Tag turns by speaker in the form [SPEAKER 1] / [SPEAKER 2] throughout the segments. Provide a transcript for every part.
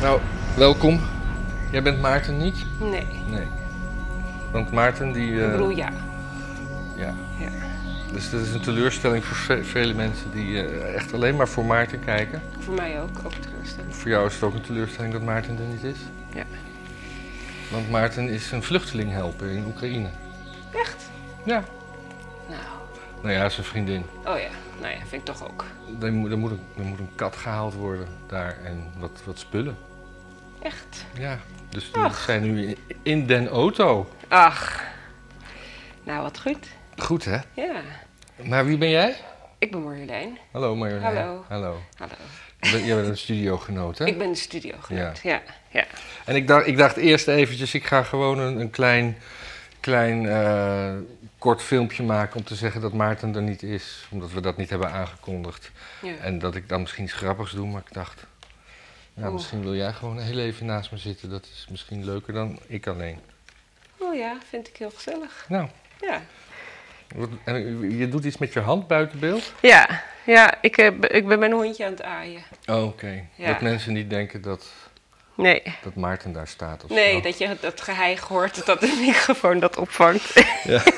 [SPEAKER 1] Nou, welkom. Jij bent Maarten niet?
[SPEAKER 2] Nee,
[SPEAKER 1] Nee. Want Maarten die... eh,
[SPEAKER 2] ik bedoel ja.
[SPEAKER 1] ja.
[SPEAKER 2] ja.
[SPEAKER 1] Dus dat is een teleurstelling voor ve- vele mensen die eh, echt alleen maar voor Maarten kijken.
[SPEAKER 2] Voor mij ook, ook teleurstellend.
[SPEAKER 1] Voor jou is het ook een teleurstelling dat Maarten er niet is.
[SPEAKER 2] Ja.
[SPEAKER 1] Want Maarten is een vluchteling helpen in Oekraïne.
[SPEAKER 2] Echt?
[SPEAKER 1] Ja.
[SPEAKER 2] Nou,
[SPEAKER 1] Nou ja, zijn vriendin.
[SPEAKER 2] oh ja, nou ja, vind ik toch ook.
[SPEAKER 1] Er moet, er moet, een, er moet een kat gehaald worden daar en wat, wat spullen.
[SPEAKER 2] Echt?
[SPEAKER 1] Ja. Dus die
[SPEAKER 2] Ach.
[SPEAKER 1] zijn nu in, in den auto.
[SPEAKER 2] Ach, nou wat goed.
[SPEAKER 1] Goed hè?
[SPEAKER 2] Ja,
[SPEAKER 1] Maar wie ben jij?
[SPEAKER 2] ik ben Marjolein.
[SPEAKER 1] Hallo Marjolein.
[SPEAKER 2] Hallo.
[SPEAKER 1] Hallo.
[SPEAKER 2] Hallo.
[SPEAKER 1] Je bent- Jij bent een studiogenoot, hè?
[SPEAKER 2] Ik ben de studio genoemd. Ja. Ja,
[SPEAKER 1] En ik dacht, ik dacht eerst eventjes, ik ga gewoon een, een klein, klein eh, kort filmpje maken om te zeggen dat Maarten er niet is. Omdat we dat niet hebben aangekondigd.
[SPEAKER 2] ja.
[SPEAKER 1] En dat ik dan misschien iets grappigs doe, maar ik dacht... Nou,
[SPEAKER 2] Oeh.
[SPEAKER 1] misschien wil jij gewoon heel even naast me zitten. Dat is misschien leuker dan ik alleen.
[SPEAKER 2] Oh ja, vind ik heel gezellig.
[SPEAKER 1] Nou,
[SPEAKER 2] Ja.
[SPEAKER 1] wat, en je doet iets met je hand buiten beeld?
[SPEAKER 2] Ja, ja ik, eh, b- ik ben mijn hondje aan het aaien.
[SPEAKER 1] Oh, Oké.
[SPEAKER 2] Ja.
[SPEAKER 1] Dat mensen niet denken dat,
[SPEAKER 2] Nee,
[SPEAKER 1] dat Maarten daar staat of
[SPEAKER 2] nee
[SPEAKER 1] zo.
[SPEAKER 2] dat je dat geheig hoort dat de microfoon dat opvangt.
[SPEAKER 1] Ja.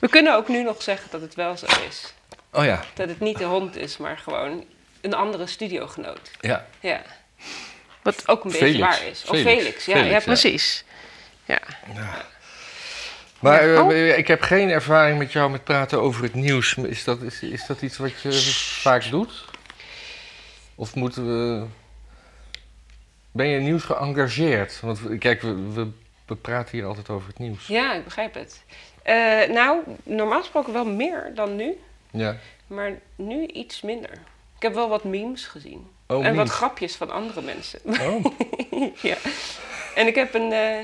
[SPEAKER 2] We kunnen ook nu nog zeggen dat het wel zo is.
[SPEAKER 1] Oh ja,
[SPEAKER 2] Dat het niet de hond is, maar gewoon een andere studiogenoot.
[SPEAKER 1] ja.
[SPEAKER 2] Ja. Wat ook een beetje
[SPEAKER 1] Felix.
[SPEAKER 2] waar is. Of
[SPEAKER 1] Felix.
[SPEAKER 2] Felix, ja,
[SPEAKER 1] Felix,
[SPEAKER 2] ja
[SPEAKER 1] ja.
[SPEAKER 2] precies. Ja.
[SPEAKER 1] Maar
[SPEAKER 2] Ja.
[SPEAKER 1] eh,
[SPEAKER 2] Oh.
[SPEAKER 1] eh, ik heb geen ervaring met jou met praten over het nieuws. Is dat, is, is dat iets wat je vaak doet? Of moeten we. Ben je nieuws geëngageerd? Want we- kijk, we, we, we praten hier altijd over het nieuws.
[SPEAKER 2] ja, ik begrijp het. Eh, nou, normaal gesproken wel meer dan nu,
[SPEAKER 1] Ja.
[SPEAKER 2] maar nu iets minder. Ik heb wel wat memes gezien.
[SPEAKER 1] Oh,
[SPEAKER 2] en wat
[SPEAKER 1] memes.
[SPEAKER 2] grapjes van andere mensen.
[SPEAKER 1] Oh.
[SPEAKER 2] ja. En ik heb een, eh,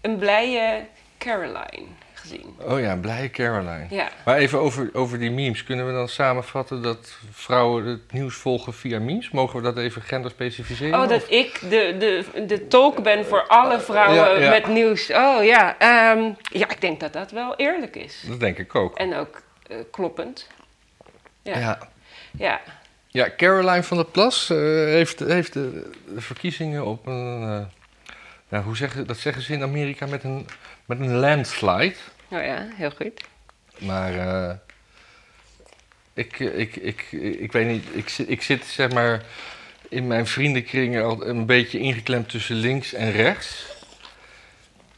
[SPEAKER 2] een blije Caroline gezien.
[SPEAKER 1] oh ja, blije Caroline.
[SPEAKER 2] Ja.
[SPEAKER 1] Maar even over, over die memes. Kunnen we dan samenvatten dat vrouwen het nieuws volgen via memes? Mogen we dat even gender specificeren?
[SPEAKER 2] Oh, dat ik de, de, de tolk ben voor alle vrouwen
[SPEAKER 1] Ja, ja.
[SPEAKER 2] met nieuws. Oh ja, ehm, ja, ik denk dat dat wel eerlijk is.
[SPEAKER 1] dat denk ik ook.
[SPEAKER 2] En ook eh, kloppend. Ja. Ja.
[SPEAKER 1] ja. Ja, Caroline van der Plas eh, heeft, heeft de, de verkiezingen op een. eh, nou, hoe zeggen, dat zeggen ze in Amerika met een, met een landslide.
[SPEAKER 2] Oh ja, heel goed.
[SPEAKER 1] Maar. eh, ik, ik, ik, ik, ik weet niet. Ik, zit- ik zit zeg maar in mijn vriendenkringen al een beetje ingeklemd tussen links en rechts.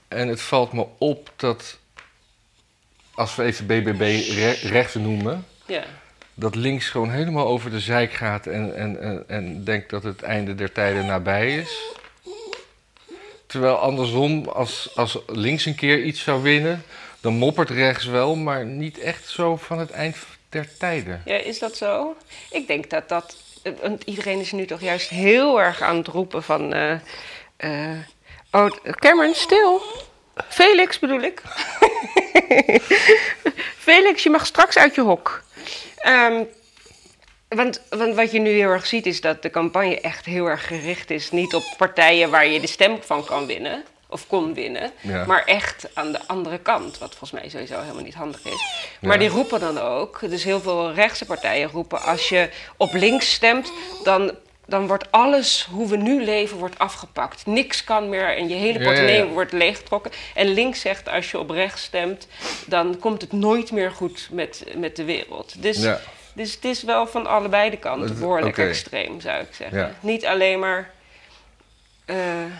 [SPEAKER 1] En het valt me op dat. Als we even BBB re- rechts noemen
[SPEAKER 2] Ja.
[SPEAKER 1] dat links gewoon helemaal over de zijk gaat en, en, en, en denkt dat het einde der tijden nabij is. Terwijl andersom, als, als links een keer iets zou winnen, dan moppert rechts wel, maar niet echt zo van het eind der tijden.
[SPEAKER 2] ja, is dat zo? Ik denk dat dat... eh, Want iedereen is nu toch juist heel erg aan het roepen van... eh, eh, oh, Cameron, stil. Felix bedoel ik. Felix, je mag straks uit je hok. Ehm, want, want wat je nu heel erg ziet is dat de campagne echt heel erg gericht is. Niet op partijen waar je de stem van kan winnen. Of kon winnen.
[SPEAKER 1] Ja.
[SPEAKER 2] Maar echt aan de andere kant. Wat volgens mij sowieso helemaal niet handig is. Maar
[SPEAKER 1] Ja.
[SPEAKER 2] die roepen dan ook. Dus heel veel rechtse partijen roepen. Als je op links stemt, dan, dan wordt alles hoe we nu leven wordt afgepakt. Niks kan meer en je hele
[SPEAKER 1] Ja, ja, ja.
[SPEAKER 2] portemonnee wordt leeggetrokken. En links zegt als je op rechts stemt, dan komt het nooit meer goed met, met de wereld. Dus,
[SPEAKER 1] Ja.
[SPEAKER 2] dus het is wel van allebei de kanten
[SPEAKER 1] Het-
[SPEAKER 2] behoorlijk
[SPEAKER 1] oké.
[SPEAKER 2] extreem, zou ik zeggen.
[SPEAKER 1] Ja.
[SPEAKER 2] Niet alleen maar. eh,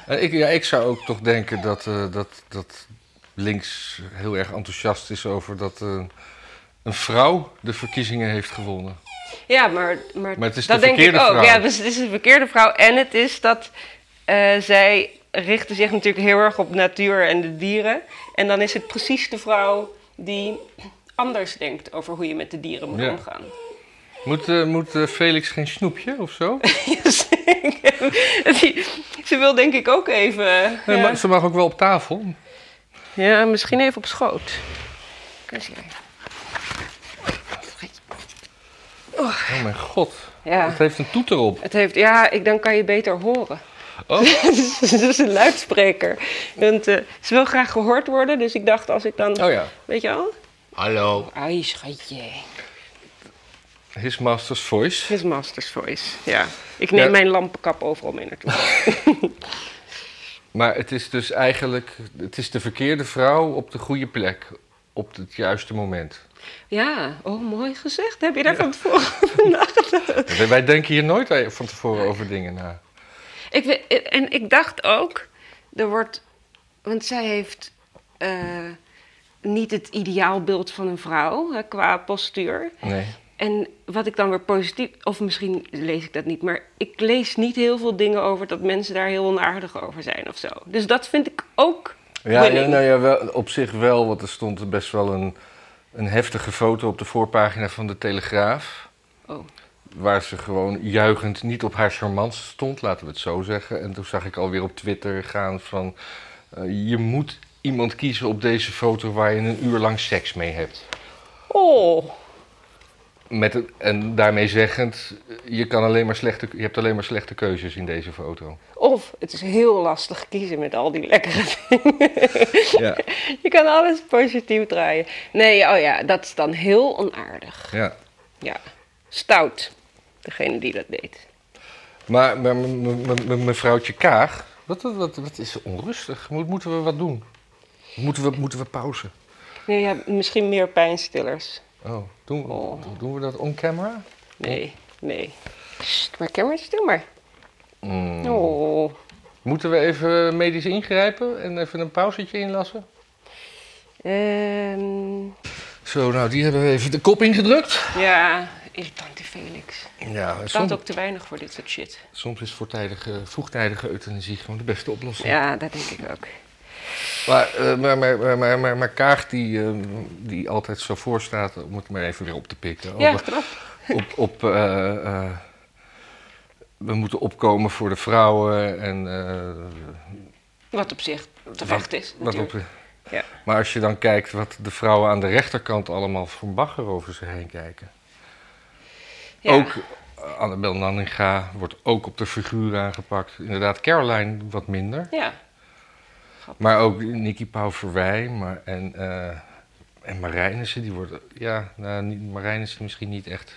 [SPEAKER 1] Eh, Ik, ja, ik zou ook toch denken dat, eh, dat, dat links heel erg enthousiast is over dat eh, een vrouw de verkiezingen heeft gewonnen.
[SPEAKER 2] ja, maar, maar,
[SPEAKER 1] Maar het is
[SPEAKER 2] dat
[SPEAKER 1] de
[SPEAKER 2] denk ik ook.
[SPEAKER 1] verkeerde vrouw.
[SPEAKER 2] Ja, dus het is een verkeerde vrouw. En het is dat eh, zij richten zich natuurlijk heel erg op natuur en de dieren. En dan is het precies de vrouw die anders denkt over hoe je met de dieren moet
[SPEAKER 1] Ja.
[SPEAKER 2] omgaan.
[SPEAKER 1] Moet, eh, moet eh, Felix geen snoepje of zo?
[SPEAKER 2] Yes. Die- ze wil denk ik ook even.
[SPEAKER 1] Nee,
[SPEAKER 2] ja.
[SPEAKER 1] maar ze mag ook wel op tafel.
[SPEAKER 2] Ja, misschien even op schoot. Kus jij.
[SPEAKER 1] Oh mijn god.
[SPEAKER 2] Ja.
[SPEAKER 1] Het heeft een toeter op.
[SPEAKER 2] Het heeft, ja, ik, dan kan je beter horen. Dus
[SPEAKER 1] Oh.
[SPEAKER 2] Het is een luidspreker. Want, eh, ze wil graag gehoord worden, dus ik dacht als ik dan...
[SPEAKER 1] Oh ja.
[SPEAKER 2] Weet je wel?
[SPEAKER 1] Hallo.
[SPEAKER 2] Ai, schatje.
[SPEAKER 1] His Master's Voice.
[SPEAKER 2] His Master's Voice, ja. Ik neem
[SPEAKER 1] Ja.
[SPEAKER 2] mijn lampenkap overal mee naartoe.
[SPEAKER 1] Maar het is dus eigenlijk, het is de verkeerde vrouw op de goede plek, op het juiste moment.
[SPEAKER 2] Ja, oh, mooi gezegd. Heb je daar van tevoren over nagedacht?
[SPEAKER 1] Wij- Wij denken hier nooit eh, van tevoren over dingen na.
[SPEAKER 2] Ik, we- en ik dacht ook, er wordt... Want zij heeft eh, niet het ideaalbeeld van een vrouw hè, qua postuur.
[SPEAKER 1] Nee.
[SPEAKER 2] En wat ik dan weer positief, of misschien lees ik dat niet, maar ik lees niet heel veel dingen over dat mensen daar heel onaardig over zijn of zo. Dus dat vind ik ook.
[SPEAKER 1] Ja,
[SPEAKER 2] winning.
[SPEAKER 1] ja, nou ja wel, op zich wel, want er stond best wel een, een heftige foto op de voorpagina van de Telegraaf.
[SPEAKER 2] Oh.
[SPEAKER 1] Waar ze gewoon juichend niet op haar charmant stond, laten we het zo zeggen. En toen zag ik alweer op Twitter gaan van... eh, je moet iemand kiezen op deze foto waar je een uur lang seks mee hebt.
[SPEAKER 2] oh.
[SPEAKER 1] Met een- en daarmee zeggend, je, kan alleen maar slechte, je hebt alleen maar slechte keuzes in deze foto.
[SPEAKER 2] Of het is heel lastig kiezen met al die lekkere dingen.
[SPEAKER 1] Ja.
[SPEAKER 2] Je kan alles positief draaien. Nee, oh ja, dat is dan heel onaardig.
[SPEAKER 1] ja.
[SPEAKER 2] Ja. Stout, degene die dat deed.
[SPEAKER 1] Maar maar me- me- me- me- mevrouwtje Kaag, wat, wat, wat, wat is ze onrustig? Moet- moeten we wat doen? Moeten we, moeten we pauze?
[SPEAKER 2] Nee, ja, misschien meer pijnstillers.
[SPEAKER 1] Oh, doen we,
[SPEAKER 2] Oh.
[SPEAKER 1] doen we dat on camera?
[SPEAKER 2] Nee, nee. Sst, maar Cameron, stil maar.
[SPEAKER 1] Mm.
[SPEAKER 2] Oh.
[SPEAKER 1] Moeten we even medisch ingrijpen en even een pauzetje inlassen?
[SPEAKER 2] Ehm,
[SPEAKER 1] Zo, nou, die hebben we even de kop ingedrukt.
[SPEAKER 2] ja, irritant die Felix.
[SPEAKER 1] Ja,
[SPEAKER 2] Dat
[SPEAKER 1] soms,
[SPEAKER 2] ook te weinig voor dit soort shit.
[SPEAKER 1] soms is voortijdige, vroegtijdige euthanasie gewoon de beste oplossing.
[SPEAKER 2] Ja, dat denk ik ook.
[SPEAKER 1] Maar, eh, maar, maar, maar, maar, maar, maar Kaag, die, eh, die altijd zo voor staat, om het maar even weer op te pikken.
[SPEAKER 2] Ja,
[SPEAKER 1] Over-
[SPEAKER 2] knap.
[SPEAKER 1] op, op eh, eh, we moeten opkomen voor de vrouwen en eh,
[SPEAKER 2] Wat op zich terecht is.
[SPEAKER 1] wat
[SPEAKER 2] natuurlijk.
[SPEAKER 1] op,
[SPEAKER 2] Ja.
[SPEAKER 1] maar als je dan kijkt wat de vrouwen aan de rechterkant allemaal voor bagger over zich heen kijken.
[SPEAKER 2] Ja.
[SPEAKER 1] Ook eh, Annabel Nanninga wordt ook op de figuur aangepakt. Inderdaad, Caroline wat minder.
[SPEAKER 2] Ja.
[SPEAKER 1] Maar ook Nicky Pauw Verwij maar, en, eh en Marijnissen, die worden... Ja, nou, niet, Marijnissen misschien niet echt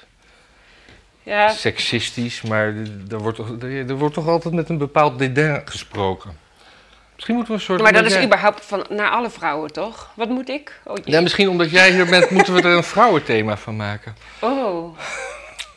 [SPEAKER 2] ja.
[SPEAKER 1] seksistisch, maar d- er wordt, toch, er, er wordt toch altijd met een bepaald dédain gesproken. Misschien moeten we een soort.
[SPEAKER 2] Maar dat is
[SPEAKER 1] dédain-
[SPEAKER 2] überhaupt van, naar alle vrouwen, toch? Wat moet ik? Oh, jee.
[SPEAKER 1] Ja, misschien omdat jij hier bent, moeten we er een vrouwenthema van maken.
[SPEAKER 2] oh.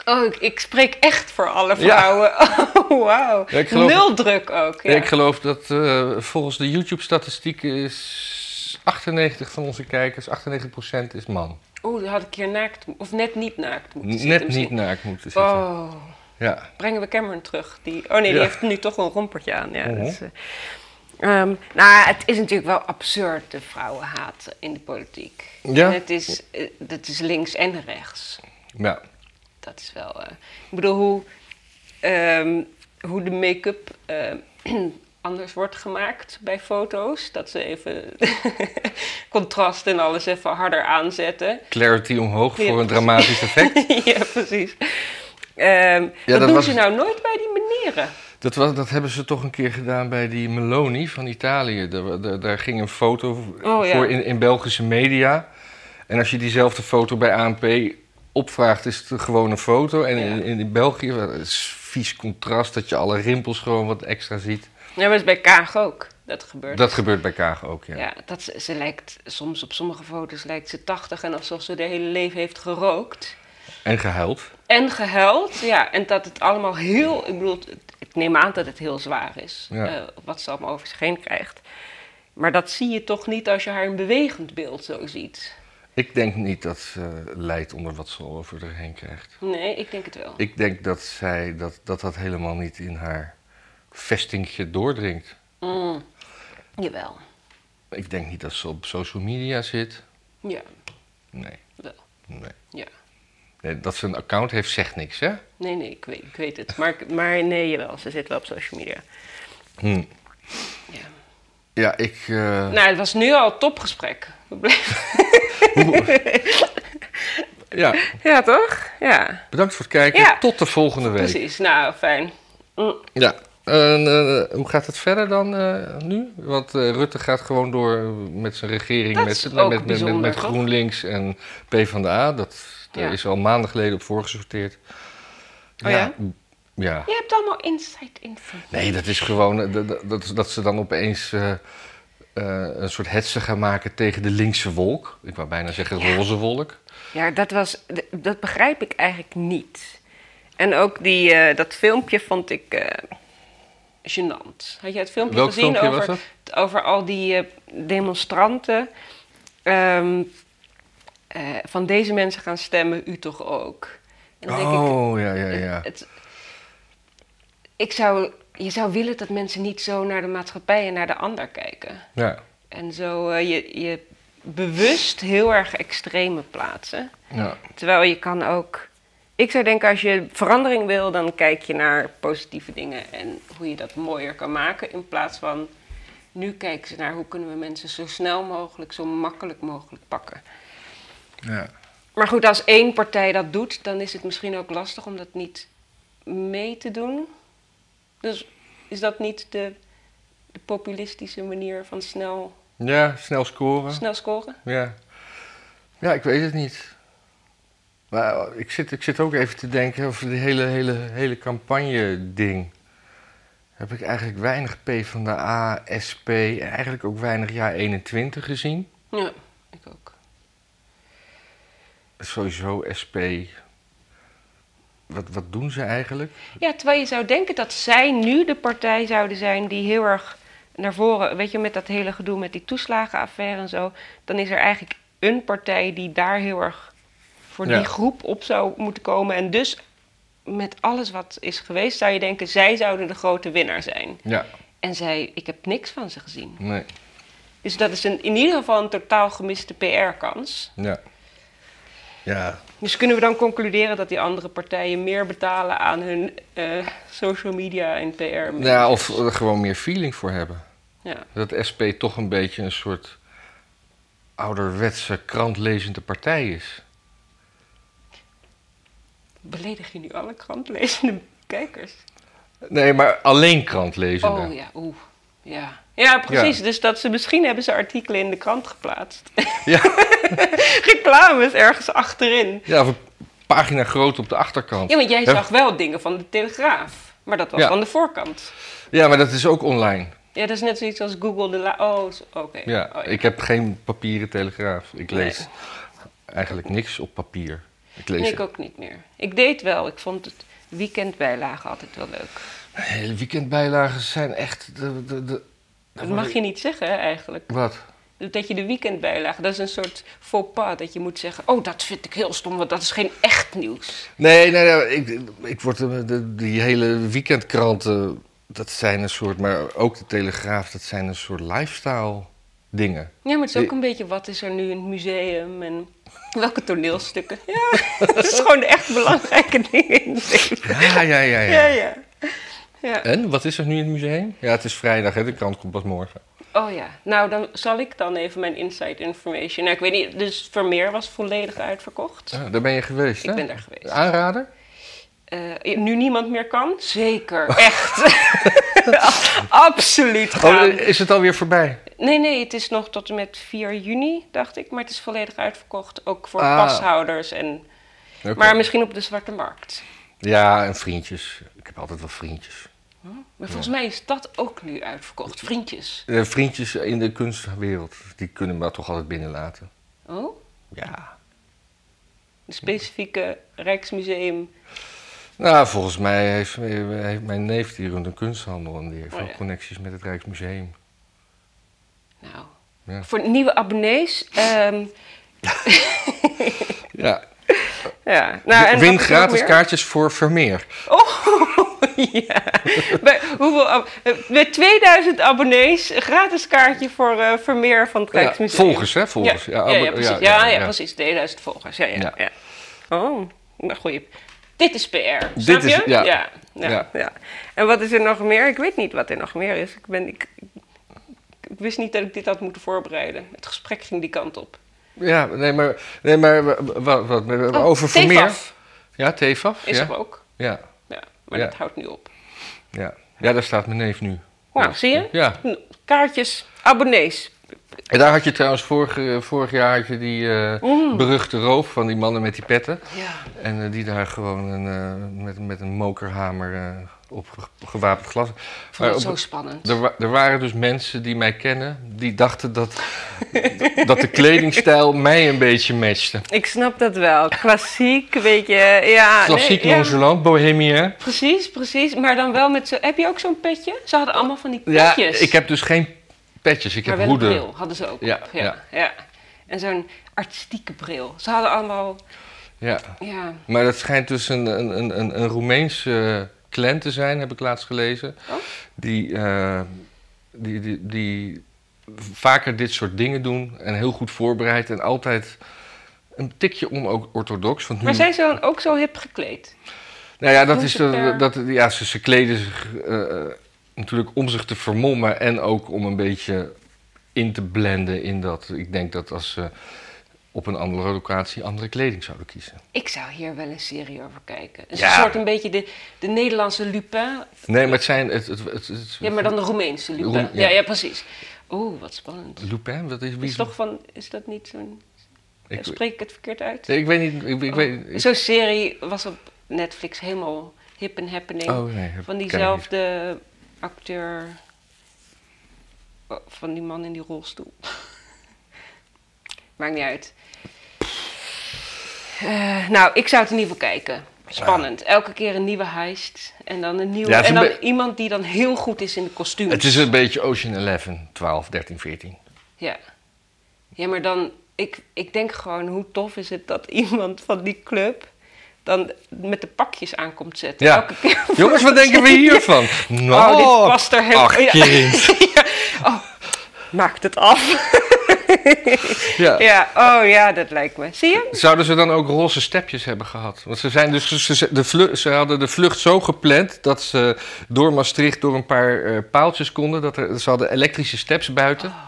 [SPEAKER 2] oh ik, ik spreek echt voor alle
[SPEAKER 1] Ja.
[SPEAKER 2] vrouwen. Oh, wauw.
[SPEAKER 1] Ja, ik geloof-
[SPEAKER 2] Nul druk ook. Ja.
[SPEAKER 1] Ik geloof dat eh, volgens de YouTube-statistieken is 98 van onze kijkers, 98% is man.
[SPEAKER 2] Oeh, dan Oh, had ik hier naakt, of net niet naakt moeten zitten.
[SPEAKER 1] Net niet
[SPEAKER 2] misschien.
[SPEAKER 1] naakt moeten zitten.
[SPEAKER 2] Oh.
[SPEAKER 1] Ja.
[SPEAKER 2] brengen we Cameron terug. Die, oh nee, die
[SPEAKER 1] Ja.
[SPEAKER 2] heeft nu toch een rompertje aan. Ja,
[SPEAKER 1] Mhm.
[SPEAKER 2] dus, eh, ehm, nou, het is natuurlijk wel absurd, de vrouwenhaat in de politiek.
[SPEAKER 1] Ja.
[SPEAKER 2] En het is, eh, dat is links en rechts.
[SPEAKER 1] ja.
[SPEAKER 2] Dat is wel... eh, ik bedoel, hoe, ehm, hoe de make-up... eh, anders wordt gemaakt bij foto's. Dat ze even contrast en alles even harder aanzetten.
[SPEAKER 1] Clarity omhoog
[SPEAKER 2] Ja,
[SPEAKER 1] voor een
[SPEAKER 2] precies.
[SPEAKER 1] dramatisch effect.
[SPEAKER 2] ja, precies. Ehm, dat,
[SPEAKER 1] dat
[SPEAKER 2] doen
[SPEAKER 1] was-
[SPEAKER 2] ze nou nooit bij die meneren.
[SPEAKER 1] Dat, was, dat hebben ze toch een keer gedaan bij die Meloni van Italië. Daar, daar, daar ging een foto
[SPEAKER 2] Oh, ja.
[SPEAKER 1] voor in, in Belgische media. En als je diezelfde foto bij ANP opvraagt, is het gewoon een foto. En in, in, in België wel, het is vies contrast dat je alle rimpels gewoon wat extra ziet.
[SPEAKER 2] Ja, maar dat is bij Kaag ook. Dat gebeurt.
[SPEAKER 1] Dat gebeurt bij Kaag ook, ja.
[SPEAKER 2] ja. dat ze, ze lijkt soms op sommige foto's lijkt ze 80 en alsof ze de hele leven heeft gerookt
[SPEAKER 1] En gehuild.
[SPEAKER 2] en gehuild. Ja, en dat het allemaal heel, ik bedoel, het- ik neem aan dat het heel zwaar is
[SPEAKER 1] Ja.
[SPEAKER 2] eh, wat ze allemaal over zich heen krijgt. Maar dat zie je toch niet als je haar in bewegend beeld zo ziet.
[SPEAKER 1] Ik denk niet dat ze lijdt onder wat ze over haar heen krijgt.
[SPEAKER 2] Nee, ik denk het wel.
[SPEAKER 1] Ik denk dat, zij, dat, dat dat helemaal niet in haar vestingje doordringt.
[SPEAKER 2] Mm. Jawel.
[SPEAKER 1] Ik denk niet dat ze op social media zit.
[SPEAKER 2] Ja,
[SPEAKER 1] Nee,
[SPEAKER 2] wel.
[SPEAKER 1] nee.
[SPEAKER 2] Ja.
[SPEAKER 1] nee dat ze een account heeft, zegt niks, hè?
[SPEAKER 2] Nee, nee, ik weet, ik weet het. Maar, ik- maar nee, jawel, ze zit wel op social media.
[SPEAKER 1] Hm.
[SPEAKER 2] Ja.
[SPEAKER 1] Ja, ik. eh,
[SPEAKER 2] Nou, het was nu al een topgesprek. We bleven-
[SPEAKER 1] Ja,
[SPEAKER 2] Ja, toch? Ja,
[SPEAKER 1] bedankt voor het kijken.
[SPEAKER 2] Ja.
[SPEAKER 1] Tot de volgende week.
[SPEAKER 2] precies. Nou, fijn. Mm,
[SPEAKER 1] Ja. En, eh, hoe gaat het verder dan eh, nu? Want eh, Rutte gaat gewoon door met zijn regering.
[SPEAKER 2] Dat
[SPEAKER 1] met, nou, met,
[SPEAKER 2] is
[SPEAKER 1] met,
[SPEAKER 2] ook
[SPEAKER 1] met, met
[SPEAKER 2] bijzonder, toch?
[SPEAKER 1] GroenLinks en PvdA. Dat, Daar
[SPEAKER 2] Ja.
[SPEAKER 1] is al maanden geleden op voorgesorteerd.
[SPEAKER 2] Oh ja?
[SPEAKER 1] m- Ja.
[SPEAKER 2] Je hebt allemaal inside info.
[SPEAKER 1] Nee, dat is gewoon eh, dat, dat- dat, dat ze dan opeens eh, eh, een soort hetze gaan maken tegen de linkse wolk. Ik wou bijna zeggen roze wolk.
[SPEAKER 2] Ja, dat, was, d- dat begrijp ik eigenlijk niet. En ook die, eh, dat filmpje vond ik eh gênant. Had jij het filmpje
[SPEAKER 1] Welk
[SPEAKER 2] gezien
[SPEAKER 1] filmpje
[SPEAKER 2] over,
[SPEAKER 1] was
[SPEAKER 2] over al die eh, demonstranten? Ehm, eh, van deze mensen gaan stemmen, u toch ook? En dan denk ik,
[SPEAKER 1] Oh, ja, ja, ja.
[SPEAKER 2] het, ik zou, je zou willen dat mensen niet zo naar de maatschappij en naar de ander kijken.
[SPEAKER 1] Ja,
[SPEAKER 2] En zo eh, je, je bewust heel erg extreme plaatsen.
[SPEAKER 1] ja.
[SPEAKER 2] Terwijl je kan ook. Ik zou denken, als je verandering wil, dan kijk je naar positieve dingen en hoe je dat mooier kan maken. In plaats van nu kijken ze naar hoe kunnen we mensen zo snel mogelijk, zo makkelijk mogelijk pakken.
[SPEAKER 1] ja.
[SPEAKER 2] Maar goed, als één partij dat doet, dan is het misschien ook lastig om dat niet mee te doen. Dus is dat niet de, de populistische manier van snel,
[SPEAKER 1] ja snel scoren.
[SPEAKER 2] snel scoren?
[SPEAKER 1] Ja. ja, ik weet het niet. Maar oh, ik zit, ik zit ook even te denken over die hele, hele, hele campagne-ding. Heb ik eigenlijk weinig P van de A, SP en eigenlijk ook weinig jaar 21 gezien.
[SPEAKER 2] Ja, ik ook.
[SPEAKER 1] Sowieso SP. Wat, wat doen ze eigenlijk?
[SPEAKER 2] Ja, terwijl je zou denken dat zij nu de partij zouden zijn die heel erg naar voren, weet je, met dat hele gedoe met die toeslagenaffaire en zo, dan is er eigenlijk een partij die daar heel erg voor
[SPEAKER 1] Ja.
[SPEAKER 2] die groep op zou moeten komen. En dus met alles wat is geweest, zou je denken, zij zouden de grote winnaar zijn.
[SPEAKER 1] Ja,
[SPEAKER 2] En zij, ik heb niks van ze gezien.
[SPEAKER 1] nee.
[SPEAKER 2] Dus dat is een, in ieder geval een totaal gemiste PR-kans.
[SPEAKER 1] Ja. Ja,
[SPEAKER 2] Dus kunnen we dan concluderen dat die andere partijen meer betalen aan hun eh, social media en PR?
[SPEAKER 1] ja of er gewoon meer feeling voor hebben.
[SPEAKER 2] Ja.
[SPEAKER 1] Dat SP toch een beetje een soort ouderwetse krantlezende partij is.
[SPEAKER 2] Beledig je nu alle krantlezende kijkers?
[SPEAKER 1] Nee, maar alleen krantlezende.
[SPEAKER 2] Oh ja, oeh. Ja, ja precies.
[SPEAKER 1] Ja.
[SPEAKER 2] Dus dat ze, misschien hebben ze artikelen in de krant geplaatst.
[SPEAKER 1] ja.
[SPEAKER 2] Reclames ergens achterin.
[SPEAKER 1] ja, of een pagina groot op de achterkant.
[SPEAKER 2] Ja, want jij
[SPEAKER 1] Ja.
[SPEAKER 2] zag wel dingen van de Telegraaf. Maar dat was
[SPEAKER 1] Ja.
[SPEAKER 2] aan de voorkant.
[SPEAKER 1] Ja, maar dat is ook online.
[SPEAKER 2] Ja, dat is net zoiets als Google de la... Oh, zo- oké.
[SPEAKER 1] Ja,
[SPEAKER 2] Oh,
[SPEAKER 1] ik heb geen papieren telegraaf. Ik
[SPEAKER 2] Nee.
[SPEAKER 1] lees eigenlijk niks op papier. Ik lees
[SPEAKER 2] Nee, ik ook niet meer. Ik deed wel. Ik vond het weekendbijlage altijd wel leuk.
[SPEAKER 1] hele weekendbijlagen zijn echt de, de, de-
[SPEAKER 2] Dat mag je niet zeggen, hè, eigenlijk.
[SPEAKER 1] Wat?
[SPEAKER 2] Dat je de weekendbijlage, dat is een soort faux pas. Dat je moet zeggen, oh, dat vind ik heel stom, want dat is geen echt nieuws.
[SPEAKER 1] Nee, nee, nee, ik, ik word de- de- die hele weekendkranten, dat zijn een soort, maar ook de Telegraaf, dat zijn een soort lifestyle dingen.
[SPEAKER 2] Ja, maar het is ook
[SPEAKER 1] Die-
[SPEAKER 2] een beetje wat is er nu in het museum en welke toneelstukken. Ja, het is gewoon de echt belangrijke dingen in het leven.
[SPEAKER 1] Ja, ja, ja, ja.
[SPEAKER 2] Ja, ja. ja.
[SPEAKER 1] En wat is er nu in het museum? Ja, het is vrijdag, hè? de krant komt pas morgen.
[SPEAKER 2] Oh ja, nou dan zal ik dan even mijn inside information. Nou, ik weet niet, dus Vermeer was volledig uitverkocht.
[SPEAKER 1] Ah, daar ben je geweest, hè?
[SPEAKER 2] Ik ben daar geweest.
[SPEAKER 1] Aanrader?
[SPEAKER 2] Eh, nu niemand meer kan? Zeker, echt. Absoluut
[SPEAKER 1] Oh,
[SPEAKER 2] gaan.
[SPEAKER 1] is het alweer voorbij?
[SPEAKER 2] Nee, nee, het is nog tot en met 4 juni, dacht ik. Maar het is volledig uitverkocht, ook voor
[SPEAKER 1] Ah.
[SPEAKER 2] pashouders. En,
[SPEAKER 1] Oké.
[SPEAKER 2] Maar misschien op de zwarte markt.
[SPEAKER 1] Ja, en vriendjes. Ik heb altijd wel vriendjes.
[SPEAKER 2] Maar volgens mij is dat ook nu uitverkocht. Vriendjes.
[SPEAKER 1] Eh, vriendjes in de kunstwereld, die kunnen me toch altijd binnenlaten.
[SPEAKER 2] Oh?
[SPEAKER 1] Ja.
[SPEAKER 2] De specifieke Rijksmuseum.
[SPEAKER 1] Nou, volgens mij heeft, heeft mijn neef, die runt een kunsthandel en die heeft
[SPEAKER 2] Oh,
[SPEAKER 1] wel
[SPEAKER 2] ja.
[SPEAKER 1] connecties met het Rijksmuseum.
[SPEAKER 2] Nou.
[SPEAKER 1] Ja.
[SPEAKER 2] Voor nieuwe abonnees. ehm,
[SPEAKER 1] Ja,
[SPEAKER 2] ja. Nou, en
[SPEAKER 1] win
[SPEAKER 2] wat is er nog
[SPEAKER 1] gratis
[SPEAKER 2] meer?
[SPEAKER 1] kaartjes voor Vermeer.
[SPEAKER 2] Oh, ja. Bij, hoeveel, ab- eh, bij 2000 abonnees een gratis kaartje voor eh, Vermeer van het
[SPEAKER 1] Ja,
[SPEAKER 2] Rijksmuseum.
[SPEAKER 1] volgers, hè? Volgers.
[SPEAKER 2] Ja,
[SPEAKER 1] Ja,
[SPEAKER 2] ja, ja,
[SPEAKER 1] abon- ja,
[SPEAKER 2] precies. Ja, ja,
[SPEAKER 1] ja, ja.
[SPEAKER 2] precies. 2000 volgers. Ja, ja, ja.
[SPEAKER 1] Ja.
[SPEAKER 2] Oh, nou, goeie. Dit is PR. Dit
[SPEAKER 1] Dit is-
[SPEAKER 2] je?
[SPEAKER 1] ja.
[SPEAKER 2] Ja, ja,
[SPEAKER 1] Ja.
[SPEAKER 2] ja. En wat is er nog meer? Ik weet niet wat er nog meer is. Ik, ben, ik, ik wist niet dat ik dit had moeten voorbereiden. Het gesprek ging die kant op.
[SPEAKER 1] Ja, nee, maar, nee, maar wa- wa- wat,
[SPEAKER 2] Oh,
[SPEAKER 1] over Vermeer.
[SPEAKER 2] TFAF
[SPEAKER 1] Ja, TFAF.
[SPEAKER 2] is
[SPEAKER 1] ja.
[SPEAKER 2] er ook.
[SPEAKER 1] Ja,
[SPEAKER 2] Ja, maar
[SPEAKER 1] Ja.
[SPEAKER 2] dat houdt nu op.
[SPEAKER 1] ja. ja, daar staat mijn neef nu.
[SPEAKER 2] Nou, zie je?
[SPEAKER 1] Ja.
[SPEAKER 2] Kaartjes, abonnees.
[SPEAKER 1] En daar had je trouwens vorig, eh, vorig jaar had je die eh,
[SPEAKER 2] Mm.
[SPEAKER 1] beruchte roof van die mannen met die petten.
[SPEAKER 2] Ja.
[SPEAKER 1] En eh, die daar gewoon een, eh, met, met een mokerhamer eh, op ge- gewapend glas.
[SPEAKER 2] Ik
[SPEAKER 1] Maar
[SPEAKER 2] vond het
[SPEAKER 1] op-
[SPEAKER 2] zo spannend.
[SPEAKER 1] Er, wa- er waren dus mensen die mij kennen, die dachten dat, dat de kledingstijl mij een beetje matchte.
[SPEAKER 2] Ik snap dat wel. Klassiek, weet je. Ja,
[SPEAKER 1] Klassiek
[SPEAKER 2] Ah, nee, ja.
[SPEAKER 1] nonchalant, bohemien.
[SPEAKER 2] Precies, precies. Maar dan wel met zo. Heb je ook zo'n petje? Ze hadden allemaal van die
[SPEAKER 1] Ja,
[SPEAKER 2] petjes.
[SPEAKER 1] ik heb dus geen petjes, ik
[SPEAKER 2] maar
[SPEAKER 1] heb
[SPEAKER 2] wel een
[SPEAKER 1] hoeden.
[SPEAKER 2] bril hadden ze ook.
[SPEAKER 1] Ja,
[SPEAKER 2] op, ja,
[SPEAKER 1] ja.
[SPEAKER 2] ja. En zo'n artistieke bril. Ze hadden allemaal.
[SPEAKER 1] Ja.
[SPEAKER 2] Ja.
[SPEAKER 1] Maar dat schijnt dus een, een, een, een, een Roemeense clan te zijn, heb ik laatst gelezen.
[SPEAKER 2] Oh.
[SPEAKER 1] Die, eh, die, die, die vaker dit soort dingen doen en heel goed voorbereid en altijd een tikje onorthodox. Want nu-
[SPEAKER 2] Maar zijn ze dan ook zo hip gekleed?
[SPEAKER 1] Nou ja, dat
[SPEAKER 2] Doen
[SPEAKER 1] is
[SPEAKER 2] ze
[SPEAKER 1] de,
[SPEAKER 2] per-
[SPEAKER 1] dat, ja ze, ze kleden zich eh, eh, natuurlijk om zich te vermommen en ook om een beetje in te blenden in dat. Ik denk dat als ze op een andere locatie andere kleding zouden kiezen.
[SPEAKER 2] Ik zou hier wel een serie over kijken. Een
[SPEAKER 1] Ja.
[SPEAKER 2] soort een beetje de, de Nederlandse Lupin.
[SPEAKER 1] Nee, maar het zijn. Het, het, het, het-
[SPEAKER 2] Ja, maar dan de Roemeense Lupin.
[SPEAKER 1] Roem- ja.
[SPEAKER 2] ja. ja, precies. Oeh, wat spannend.
[SPEAKER 1] Lupin, wat is wie?
[SPEAKER 2] Is toch van. Is dat niet zo'n.
[SPEAKER 1] ik,
[SPEAKER 2] Spreek ik het verkeerd uit?
[SPEAKER 1] nee, ik weet niet.
[SPEAKER 2] Oh,
[SPEAKER 1] Ik, ik weet. ik-
[SPEAKER 2] Zo'n serie was op Netflix helemaal hip en happening.
[SPEAKER 1] oh nee. dat
[SPEAKER 2] van
[SPEAKER 1] ken ik niet.
[SPEAKER 2] diezelfde acteur. oh, Van die man in die rolstoel. Maakt niet uit. Eh, nou, ik zou het in ieder geval kijken. Spannend. Elke keer een nieuwe heist. En dan een nieuwe.
[SPEAKER 1] Ja, het is
[SPEAKER 2] en
[SPEAKER 1] een
[SPEAKER 2] dan
[SPEAKER 1] be-
[SPEAKER 2] iemand die dan heel goed is in de kostuums.
[SPEAKER 1] Het is een beetje Ocean 11, 12, 13, 14.
[SPEAKER 2] Ja. Ja, maar dan... Ik, ik denk gewoon, hoe tof is het dat iemand van die club... dan met de pakjes aankomt zetten.
[SPEAKER 1] Ja.
[SPEAKER 2] Elke keer voor
[SPEAKER 1] Jongens, wat
[SPEAKER 2] de
[SPEAKER 1] denken we
[SPEAKER 2] serie.
[SPEAKER 1] hiervan? Nou,
[SPEAKER 2] Oh, dit past er heel...
[SPEAKER 1] ach,
[SPEAKER 2] ja.
[SPEAKER 1] kind.
[SPEAKER 2] Ja. Oh, maakt het af.
[SPEAKER 1] Ja.
[SPEAKER 2] Ja, oh ja, dat lijkt me. Zie je?
[SPEAKER 1] Zouden ze dan ook roze stepjes hebben gehad? Want ze, zijn dus, ze- ze, de vlu- ze hadden de vlucht zo gepland dat ze door Maastricht door een paar eh, paaltjes konden. Dat er, ze hadden elektrische steps buiten.
[SPEAKER 2] Oh,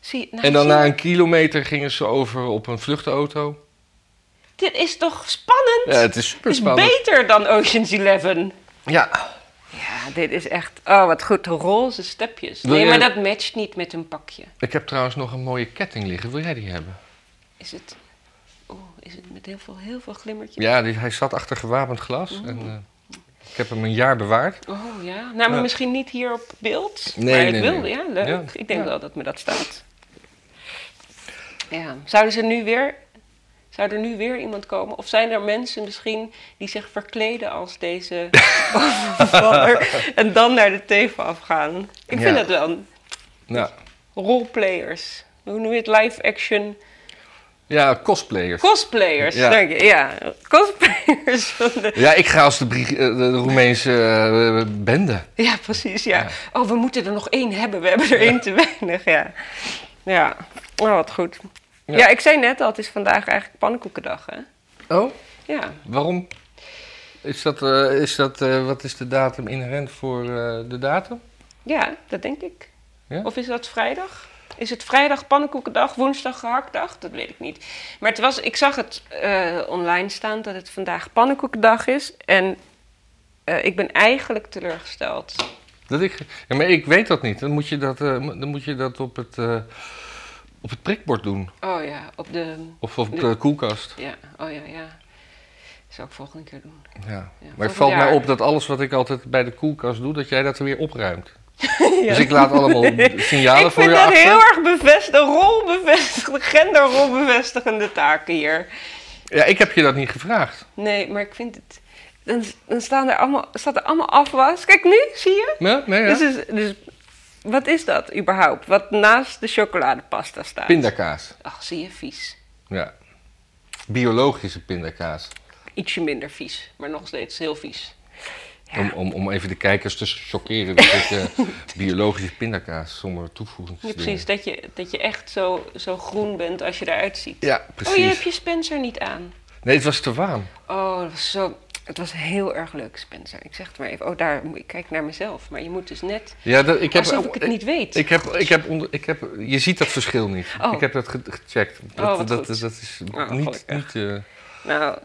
[SPEAKER 2] Zie, nou,
[SPEAKER 1] en dan
[SPEAKER 2] zie je?
[SPEAKER 1] na een kilometer gingen ze over op een vluchtauto.
[SPEAKER 2] Dit is toch spannend?
[SPEAKER 1] Ja, het is
[SPEAKER 2] Dit
[SPEAKER 1] super
[SPEAKER 2] is
[SPEAKER 1] spannend.
[SPEAKER 2] beter dan Ocean's Eleven.
[SPEAKER 1] Ja.
[SPEAKER 2] Ja, dit is echt... Oh, wat goed. Roze stepjes.
[SPEAKER 1] Wil
[SPEAKER 2] Nee,
[SPEAKER 1] je-
[SPEAKER 2] maar dat matcht niet met een pakje.
[SPEAKER 1] Ik heb trouwens nog een mooie ketting liggen. Wil jij die hebben?
[SPEAKER 2] Is het... Oh, is het met heel veel, heel veel glimmertjes?
[SPEAKER 1] Ja, die, hij zat achter gewapend glas. En, eh, ik heb hem een jaar bewaard.
[SPEAKER 2] Oh ja, nou, maar
[SPEAKER 1] Ja.
[SPEAKER 2] misschien niet hier op beeld.
[SPEAKER 1] Nee,
[SPEAKER 2] maar ik
[SPEAKER 1] nee,
[SPEAKER 2] wilde,
[SPEAKER 1] nee.
[SPEAKER 2] ja, leuk.
[SPEAKER 1] Ja.
[SPEAKER 2] Ik denk
[SPEAKER 1] Ja.
[SPEAKER 2] wel dat me dat staat. Ja, zouden ze nu weer, zou er nu weer iemand komen? Of zijn er mensen misschien die zich verkleden als deze overvaller en dan naar de teven afgaan? Ik
[SPEAKER 1] Ja.
[SPEAKER 2] vind dat wel.
[SPEAKER 1] Nou,
[SPEAKER 2] Roleplayers. Hoe noem je het? Live action
[SPEAKER 1] ja, cosplayers.
[SPEAKER 2] cosplayers.
[SPEAKER 1] Ja.
[SPEAKER 2] Dank je. Ja, cosplayers. van de-
[SPEAKER 1] Ja, ik ga als de, Brie- eh, de Roemeense eh, bende.
[SPEAKER 2] Ja, precies, ja. Oh, we moeten er nog één hebben. We hebben er één te weinig, ja. Ja, oh, wat goed.
[SPEAKER 1] Ja.
[SPEAKER 2] Ja. ik zei net al, het is vandaag eigenlijk pannenkoekendag, hè?
[SPEAKER 1] Oh?
[SPEAKER 2] Ja.
[SPEAKER 1] Waarom? Is dat, eh, is dat eh, wat is de datum inherent voor eh, de datum?
[SPEAKER 2] Ja, dat denk ik.
[SPEAKER 1] Ja?
[SPEAKER 2] Of is dat vrijdag? Is het vrijdag pannenkoekendag, woensdag gehaktdag? Dat weet ik niet. Maar het was, ik zag het eh, online staan dat het vandaag pannenkoekendag is. En eh, ik ben eigenlijk teleurgesteld.
[SPEAKER 1] Dat ik, ja, maar ik weet dat niet. Dan moet je dat, eh, mo- dan moet je dat op, het, eh, op het prikbord doen.
[SPEAKER 2] Oh ja, op de...
[SPEAKER 1] Of op de koelkast.
[SPEAKER 2] Ja, oh ja, ja. Zou ik volgende keer doen.
[SPEAKER 1] Ja. Maar het
[SPEAKER 2] volgend
[SPEAKER 1] valt mij
[SPEAKER 2] jaar.
[SPEAKER 1] op dat alles wat ik altijd bij de koelkast doe, dat jij dat weer opruimt. Dus ik laat allemaal signalen
[SPEAKER 2] Ik
[SPEAKER 1] voor je
[SPEAKER 2] vind dat
[SPEAKER 1] achter.
[SPEAKER 2] heel erg bevestigd, een rol bevestigd, een genderrol bevestigende taken hier.
[SPEAKER 1] Ja, ik heb je dat niet gevraagd.
[SPEAKER 2] Nee, maar ik vind het. Dan, dan staan er allemaal, staat er allemaal afwas. Kijk nu, zie je?
[SPEAKER 1] Nee, nee, ja.
[SPEAKER 2] Dus, is- dus wat is dat überhaupt? Wat naast de chocoladepasta staat?
[SPEAKER 1] Pindakaas.
[SPEAKER 2] Ach, zie je, vies.
[SPEAKER 1] Ja. Biologische pindakaas.
[SPEAKER 2] Ietsje minder vies, maar nog steeds heel vies.
[SPEAKER 1] Om, om, om even de kijkers te chockeren dat ik eh, biologische pindakaas zonder toevoeging.
[SPEAKER 2] Ja, precies, dat je, dat je echt zo, zo groen bent als je eruit ziet.
[SPEAKER 1] Ja,
[SPEAKER 2] Oh, je hebt
[SPEAKER 1] precies.
[SPEAKER 2] je Spencer niet aan.
[SPEAKER 1] Nee, het was te warm.
[SPEAKER 2] Oh, dat was zo. Het was heel erg leuk, Spencer. Ik zeg het maar even. Oh, daar moet ik kijk naar mezelf. Maar je moet dus net.
[SPEAKER 1] Ja, dat, ik heb, eh,
[SPEAKER 2] alsof ik het niet weet.
[SPEAKER 1] Ik heb, ik heb onder, ik heb, je ziet dat verschil niet.
[SPEAKER 2] Oh.
[SPEAKER 1] Ik heb dat ge- gecheckt. Dat,
[SPEAKER 2] wat
[SPEAKER 1] dat,
[SPEAKER 2] goed.
[SPEAKER 1] dat is
[SPEAKER 2] Oh,
[SPEAKER 1] niet. niet
[SPEAKER 2] gelukkig.
[SPEAKER 1] eh,
[SPEAKER 2] Nou,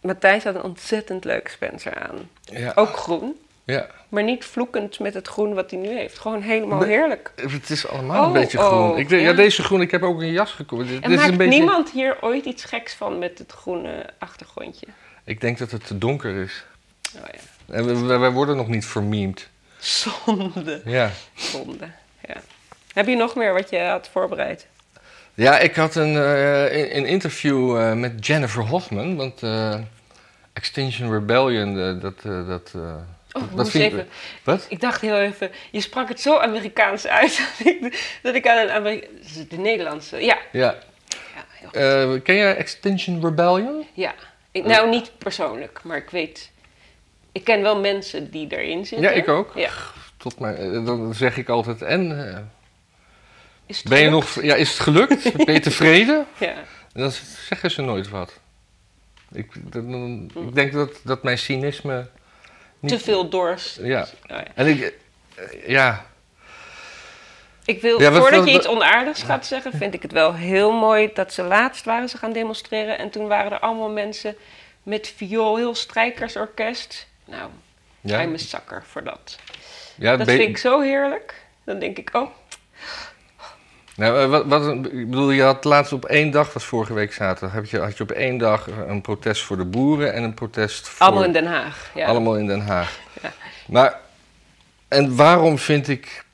[SPEAKER 2] Matthijs had een ontzettend leuk Spencer aan.
[SPEAKER 1] ja.
[SPEAKER 2] Ook groen.
[SPEAKER 1] Ja.
[SPEAKER 2] Maar niet vloekend met het groen wat hij nu heeft. Gewoon helemaal
[SPEAKER 1] Nee.
[SPEAKER 2] heerlijk.
[SPEAKER 1] Het is allemaal een
[SPEAKER 2] Oh,
[SPEAKER 1] beetje
[SPEAKER 2] oh,
[SPEAKER 1] groen. Ik denk, ja.
[SPEAKER 2] ja.
[SPEAKER 1] deze groen, ik heb ook een jas gekocht. Dit, dit
[SPEAKER 2] En
[SPEAKER 1] is
[SPEAKER 2] maakt
[SPEAKER 1] een beetje,
[SPEAKER 2] niemand hier ooit iets geks van met het groene achtergrondje?
[SPEAKER 1] Ik denk dat het te donker is.
[SPEAKER 2] Oh ja.
[SPEAKER 1] En we- we- wij worden nog niet vermeemd.
[SPEAKER 2] Zonde.
[SPEAKER 1] Ja.
[SPEAKER 2] Zonde, ja. Heb je nog meer wat je had
[SPEAKER 1] Oh,
[SPEAKER 2] voorbereid?
[SPEAKER 1] Ja, ik had een, eh, een- een interview eh, met Jennifer Hoffman. Want eh, Extinction Rebellion, eh, dat... eh, dat eh,
[SPEAKER 2] Oh,
[SPEAKER 1] dat
[SPEAKER 2] moest
[SPEAKER 1] vind ik-
[SPEAKER 2] even.
[SPEAKER 1] Wat?
[SPEAKER 2] Ik dacht heel even, je sprak het zo Amerikaans uit dat ik, dat ik aan een Amerikaanse... De Nederlandse, ja.
[SPEAKER 1] Ja.
[SPEAKER 2] Ja, heel goed.
[SPEAKER 1] Eh, ken jij Extinction Rebellion?
[SPEAKER 2] ja. Ik, nou, niet persoonlijk, maar ik weet... Ik ken wel mensen die erin zitten.
[SPEAKER 1] Ja, ik ook.
[SPEAKER 2] Ja.
[SPEAKER 1] Tot mijn, eh, dan zeg ik altijd, en eh,
[SPEAKER 2] Is het
[SPEAKER 1] ben je
[SPEAKER 2] gelukt?
[SPEAKER 1] nog, ja, is het gelukt? ben je tevreden?
[SPEAKER 2] Ja.
[SPEAKER 1] En dan zeggen ze nooit wat. Ik, dan- dan- ik denk dat, dat mijn cynisme.
[SPEAKER 2] Te veel dorst.
[SPEAKER 1] Ja.
[SPEAKER 2] Oh, ja.
[SPEAKER 1] En ik, eh, ja,
[SPEAKER 2] Ik wil,
[SPEAKER 1] Ja, wat-
[SPEAKER 2] voordat
[SPEAKER 1] wat-
[SPEAKER 2] je iets onaardigs gaat zeggen, vind ik het wel heel mooi dat ze laatst waren ze gaan demonstreren. En toen waren er allemaal mensen met viool, heel strijkersorkest. Nou,
[SPEAKER 1] ja,
[SPEAKER 2] I'm a sucker voor dat.
[SPEAKER 1] ja
[SPEAKER 2] Dat
[SPEAKER 1] be-
[SPEAKER 2] vind ik zo heerlijk. Dan denk ik, oh,
[SPEAKER 1] Nou, eh, wat, wat, een- ik bedoel, je had laatst op één dag, was vorige week zaterdag, had je, had je op één dag een protest voor de boeren en een protest voor.
[SPEAKER 2] allemaal in Den Haag. Ja.
[SPEAKER 1] Allemaal in Den Haag.
[SPEAKER 2] Ja.
[SPEAKER 1] Maar, en waarom vind ik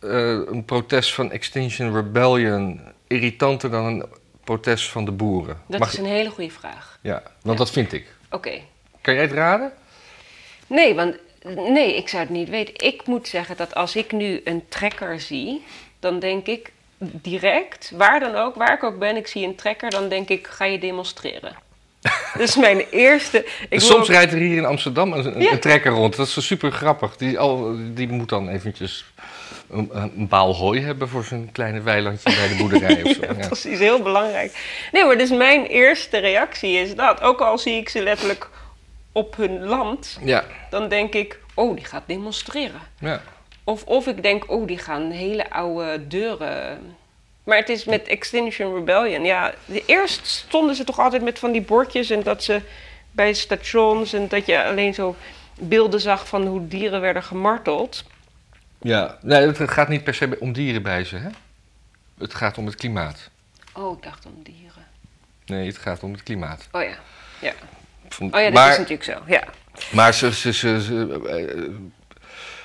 [SPEAKER 1] eh, een protest van Extinction Rebellion irritanter dan een protest van de boeren?
[SPEAKER 2] Dat
[SPEAKER 1] Mag-
[SPEAKER 2] is een hele goede vraag.
[SPEAKER 1] Ja, want dat vind ik.
[SPEAKER 2] Oké.
[SPEAKER 1] Kan jij het raden?
[SPEAKER 2] Nee, want nee, ik zou het niet weten. Ik moet zeggen dat als ik nu een trekker zie, dan denk ik direct, waar dan ook, waar ik ook ben, ik zie een trekker, dan denk ik, ga je demonstreren. dat is mijn eerste. Ik wil
[SPEAKER 1] Dus Soms
[SPEAKER 2] ook-
[SPEAKER 1] rijdt er hier in Amsterdam een, een,
[SPEAKER 2] Ja.
[SPEAKER 1] een trekker rond. Dat is zo super grappig. Die, al, die moet dan eventjes een, een baal hooi hebben voor zijn kleine weilandje bij de boerderij of zo.
[SPEAKER 2] Ja,
[SPEAKER 1] Ja.
[SPEAKER 2] precies, heel belangrijk. Nee, maar dus mijn eerste reactie is dat. Ook al zie ik ze letterlijk op hun land,
[SPEAKER 1] Ja.
[SPEAKER 2] dan denk ik, oh, die gaat demonstreren.
[SPEAKER 1] ja.
[SPEAKER 2] Of, of ik denk, oh, die gaan hele oude deuren. Maar het is met Extinction Rebellion. Ja, de- eerst stonden ze toch altijd met van die bordjes en dat ze bij stations en dat je alleen zo beelden zag van hoe dieren werden gemarteld.
[SPEAKER 1] ja. Nee, het gaat niet per se om dieren bij ze, hè? Het gaat om het klimaat.
[SPEAKER 2] Oh, ik dacht om dieren.
[SPEAKER 1] Nee, het gaat om het klimaat.
[SPEAKER 2] Oh ja. Ja.
[SPEAKER 1] Van-
[SPEAKER 2] Oh ja, dat
[SPEAKER 1] maar,
[SPEAKER 2] is natuurlijk zo. Ja.
[SPEAKER 1] Maar ze... ze, ze, ze- eh, eh,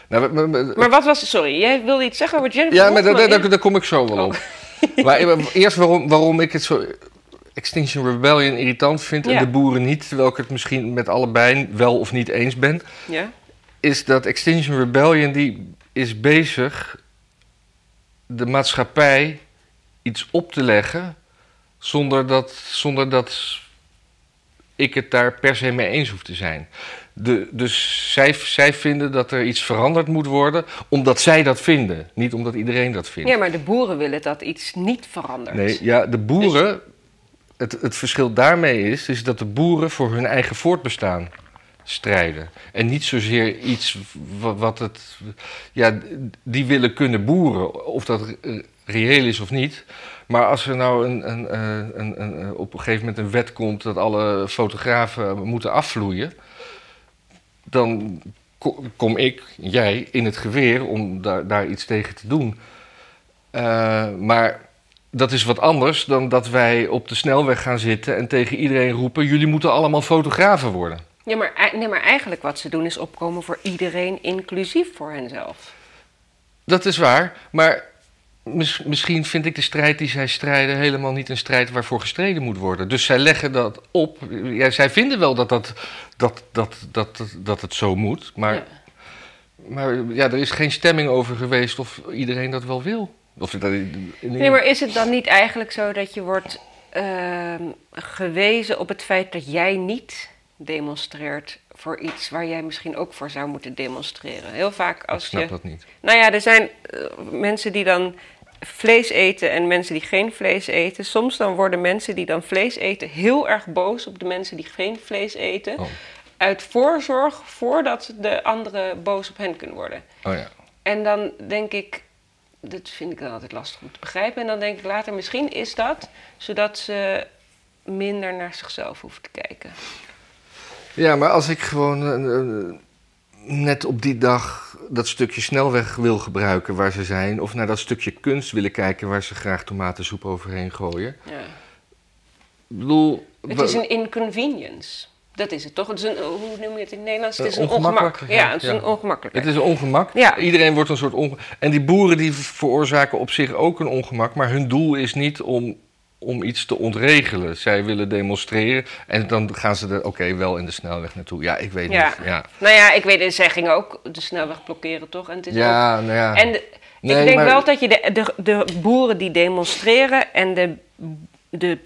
[SPEAKER 1] nou, we- we- we-
[SPEAKER 2] Maar wat was Sorry, jij wilde iets zeggen over Jennifer
[SPEAKER 1] ja, maar daar, daar,
[SPEAKER 2] Hofman.
[SPEAKER 1] daar- daar kom ik zo wel
[SPEAKER 2] Oh.
[SPEAKER 1] op. Maar eh, eerst waarom, waarom ik het zo... Extinction Rebellion irritant vind en
[SPEAKER 2] Ja.
[SPEAKER 1] de boeren niet... terwijl ik het misschien met allebei wel of niet eens ben...
[SPEAKER 2] Ja?
[SPEAKER 1] is dat Extinction Rebellion die is bezig... de maatschappij iets op te leggen... zonder dat, zonder dat ik het daar per se mee eens hoef te zijn. De, dus zij, zij vinden dat er iets veranderd moet worden... omdat zij dat vinden, niet omdat iedereen dat vindt.
[SPEAKER 2] ja, maar de boeren willen dat iets niet verandert.
[SPEAKER 1] Nee, ja, de boeren. Het, het verschil daarmee is, is dat de boeren voor hun eigen voortbestaan strijden. En niet zozeer iets wat, wat het. Ja, die willen kunnen boeren, of dat eh, reëel is of niet. Maar als er nou een, een, eh, een, een, eh, op een gegeven moment een wet komt dat alle fotografen moeten afvloeien, dan ko- kom ik, jij, in het geweer om daar, daar iets tegen te doen. Eh, maar dat is wat anders dan dat wij op de snelweg gaan zitten en tegen iedereen roepen: jullie moeten allemaal fotografen worden.
[SPEAKER 2] Ja, maar, ei- nee, maar eigenlijk wat ze doen is opkomen voor iedereen, inclusief voor henzelf.
[SPEAKER 1] Dat is waar, maar mis- misschien vind ik de strijd die zij strijden helemaal niet een strijd waarvoor gestreden moet worden. Dus zij leggen dat op. Ja, zij vinden wel dat, dat, dat, dat, dat, dat, dat het zo moet, maar,
[SPEAKER 2] Ja.
[SPEAKER 1] maar ja, er is geen stemming over geweest of iedereen dat wel wil. Of dat,
[SPEAKER 2] Nee, maar is het dan niet eigenlijk zo dat je wordt ehm, gewezen op het feit dat jij niet demonstreert voor iets waar jij misschien ook voor zou moeten demonstreren? Heel vaak
[SPEAKER 1] ik
[SPEAKER 2] als
[SPEAKER 1] snap
[SPEAKER 2] je.
[SPEAKER 1] dat niet.
[SPEAKER 2] Nou ja, er zijn eh, mensen die dan vlees eten en mensen die geen vlees eten. Soms dan worden mensen die dan vlees eten heel erg boos op de mensen die geen vlees eten.
[SPEAKER 1] Oh.
[SPEAKER 2] Uit voorzorg voordat de anderen boos op hen kunnen worden.
[SPEAKER 1] Oh ja.
[SPEAKER 2] En dan denk ik, dat vind ik dan altijd lastig om te begrijpen. En dan denk ik later, misschien is dat zodat ze minder naar zichzelf hoeven te kijken.
[SPEAKER 1] Ja, maar als ik gewoon een, een- eh, net op die dag dat stukje snelweg wil gebruiken waar ze zijn, of naar dat stukje kunst willen kijken waar ze graag tomatensoep overheen gooien.
[SPEAKER 2] Ja.
[SPEAKER 1] Ik bedoel,
[SPEAKER 2] Het
[SPEAKER 1] wa-
[SPEAKER 2] is een inconvenience. Dat is het toch? Het is een, hoe noem je het in het Nederlands? Het
[SPEAKER 1] Een
[SPEAKER 2] is een
[SPEAKER 1] ongemakkelijk,
[SPEAKER 2] ongemak.
[SPEAKER 1] ja,
[SPEAKER 2] Ja, het is
[SPEAKER 1] ja.
[SPEAKER 2] een ongemakkelijk.
[SPEAKER 1] het is een ongemak.
[SPEAKER 2] Ja.
[SPEAKER 1] Iedereen wordt een soort ongemak. En die boeren die veroorzaken op zich ook een ongemak, maar hun doel is niet om, om iets te ontregelen. Zij willen demonstreren en dan gaan ze er, oké, wel in de snelweg naartoe. Ja, ik weet
[SPEAKER 2] Ja.
[SPEAKER 1] niet. Ja,
[SPEAKER 2] Nou ja, ik weet het, zij gingen ook de snelweg blokkeren, toch? En het is ook
[SPEAKER 1] ja nou ja.
[SPEAKER 2] En de-
[SPEAKER 1] Nee,
[SPEAKER 2] ik denk
[SPEAKER 1] maar-
[SPEAKER 2] wel dat je de, de, de boeren die demonstreren en de, de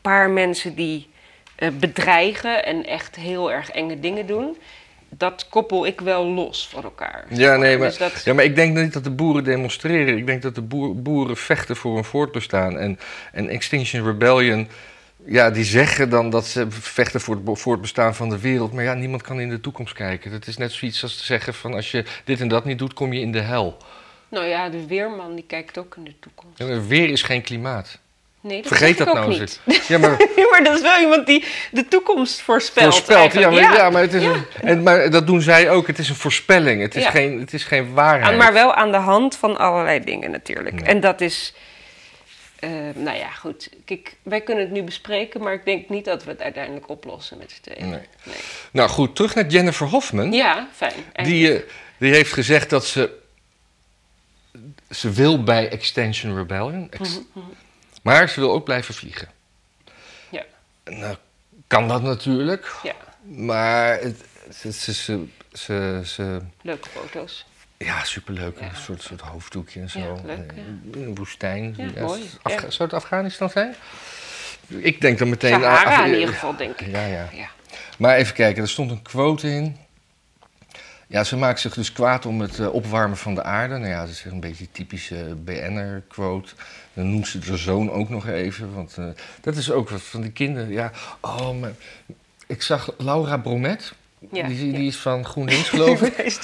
[SPEAKER 2] paar mensen die eh, bedreigen en echt heel erg enge dingen doen, dat koppel ik wel los van elkaar.
[SPEAKER 1] Ja, nee, maar,
[SPEAKER 2] Dus dat-
[SPEAKER 1] ja, maar ik denk niet dat de boeren demonstreren. Ik denk dat de boer- boeren vechten voor hun voortbestaan. En, en Extinction Rebellion, ja, die zeggen dan dat ze vechten voor het bo- voortbestaan van de wereld. Maar ja, niemand kan in de toekomst kijken. Dat is net zoiets als te zeggen van als je dit en dat niet doet, kom je in de hel.
[SPEAKER 2] Nou ja, de weerman die kijkt ook in de toekomst.
[SPEAKER 1] Ja, maar Weer is geen klimaat.
[SPEAKER 2] Nee, dat
[SPEAKER 1] Vergeet
[SPEAKER 2] zeg ik
[SPEAKER 1] dat nou
[SPEAKER 2] ook niet.
[SPEAKER 1] eens. Ja, maar
[SPEAKER 2] Ja, maar dat is wel iemand die de toekomst voorspelt.
[SPEAKER 1] voorspelt. Ja, maar,
[SPEAKER 2] eigenlijk.
[SPEAKER 1] ja. maar, het is
[SPEAKER 2] ja.
[SPEAKER 1] een, en, maar dat doen zij ook. Het is een voorspelling. Het is,
[SPEAKER 2] Ja.
[SPEAKER 1] geen, het is geen waarheid.
[SPEAKER 2] Aan- maar wel aan de hand van allerlei dingen natuurlijk.
[SPEAKER 1] Ja.
[SPEAKER 2] En dat is. eh, nou ja, goed. Kijk, wij kunnen het nu bespreken, maar ik denk niet dat we het uiteindelijk oplossen met z'n tweeën.
[SPEAKER 1] Nee. Nou goed, terug naar Jennifer Hofman.
[SPEAKER 2] Ja, fijn.
[SPEAKER 1] Die, eh, die heeft gezegd dat ze. Ze wil bij Extension Rebellion. Ex-
[SPEAKER 2] Mhm,
[SPEAKER 1] Maar ze wil ook blijven vliegen.
[SPEAKER 2] Ja.
[SPEAKER 1] Nou, kan dat natuurlijk.
[SPEAKER 2] Ja,
[SPEAKER 1] Maar het, ze, ze, ze, ze, ze-
[SPEAKER 2] leuke foto's.
[SPEAKER 1] Ja, superleuk.
[SPEAKER 2] Ja.
[SPEAKER 1] Een soort, soort hoofddoekje en zo.
[SPEAKER 2] Ja, leuk,
[SPEAKER 1] Eh, Een woestijn.
[SPEAKER 2] Ja,
[SPEAKER 1] Ja,
[SPEAKER 2] mooi.
[SPEAKER 1] Afga-
[SPEAKER 2] Ja.
[SPEAKER 1] Zou het Afghanistan zijn? Ik denk dan meteen aan
[SPEAKER 2] Sahara
[SPEAKER 1] nou, Af-
[SPEAKER 2] in ieder geval, denk ik.
[SPEAKER 1] Ja, ja.
[SPEAKER 2] Ja.
[SPEAKER 1] Maar even kijken, er stond een quote in. Ja, ze maakt zich dus kwaad om het eh, opwarmen van de aarde. Nou ja, dat is een beetje een typische eh, BN'er-quote. Dan noemt ze de zoon ook nog even. Want eh, dat is ook wat van die kinderen. Ja, oh, maar ik zag Laura Bromet.
[SPEAKER 2] Ja,
[SPEAKER 1] die,
[SPEAKER 2] ja.
[SPEAKER 1] die is van GroenLinks, geloof ik.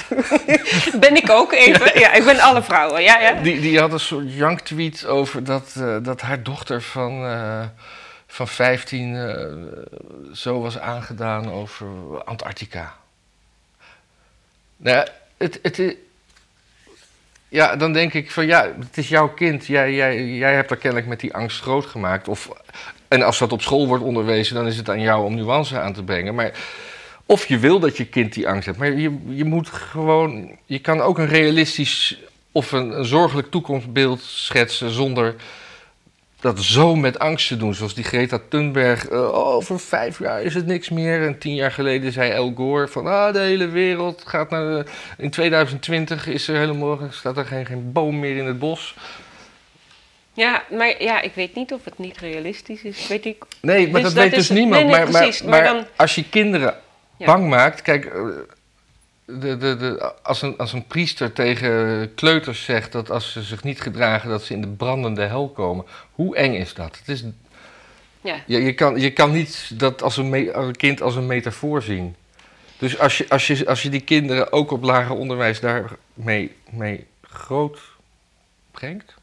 [SPEAKER 2] ben ik ook even? Ja, ik ben alle vrouwen. Ja, ja.
[SPEAKER 1] Die, die had een soort janktweet over dat, eh, dat haar dochter van, eh, van 15 eh, zo was aangedaan over Antarctica. Nou, ja, het, het, i- ja, dan denk ik van ja, het is jouw kind. Jij, jij, jij hebt haar kennelijk met die angst groot gemaakt. Of, en als dat op school wordt onderwezen, dan is het aan jou om nuance aan te brengen. Maar of je wil dat je kind die angst hebt. Maar je, je moet gewoon. Je kan ook een realistisch of een, een zorgelijk toekomstbeeld schetsen zonder dat zo met angst te doen. Zoals die Greta Thunberg. eh, oh, over vijf jaar is het niks meer. En tien jaar geleden zei El Gore van ah, de hele wereld gaat naar. de- in 2020 is er helemaal staat er geen, geen boom meer in het bos.
[SPEAKER 2] Ja, maar ja, ik weet niet of het niet realistisch is. Weet ik.
[SPEAKER 1] Nee, maar
[SPEAKER 2] Dus
[SPEAKER 1] dat,
[SPEAKER 2] dat
[SPEAKER 1] weet
[SPEAKER 2] is-
[SPEAKER 1] dus niemand.
[SPEAKER 2] nee, nee,
[SPEAKER 1] maar, maar-
[SPEAKER 2] precies,
[SPEAKER 1] maar,
[SPEAKER 2] maar dan-
[SPEAKER 1] als je kinderen
[SPEAKER 2] Ja.
[SPEAKER 1] bang maakt, kijk, eh, de, de, de, als, een, als een priester tegen kleuters zegt dat als ze zich niet gedragen, dat ze in de brandende hel komen. Hoe eng is dat? Het is,
[SPEAKER 2] Ja.
[SPEAKER 1] je, je, kan, je kan niet dat als een, me- als een kind als een metafoor zien. Dus als je, als je, als je die kinderen ook op lager onderwijs daarmee mee groot brengt.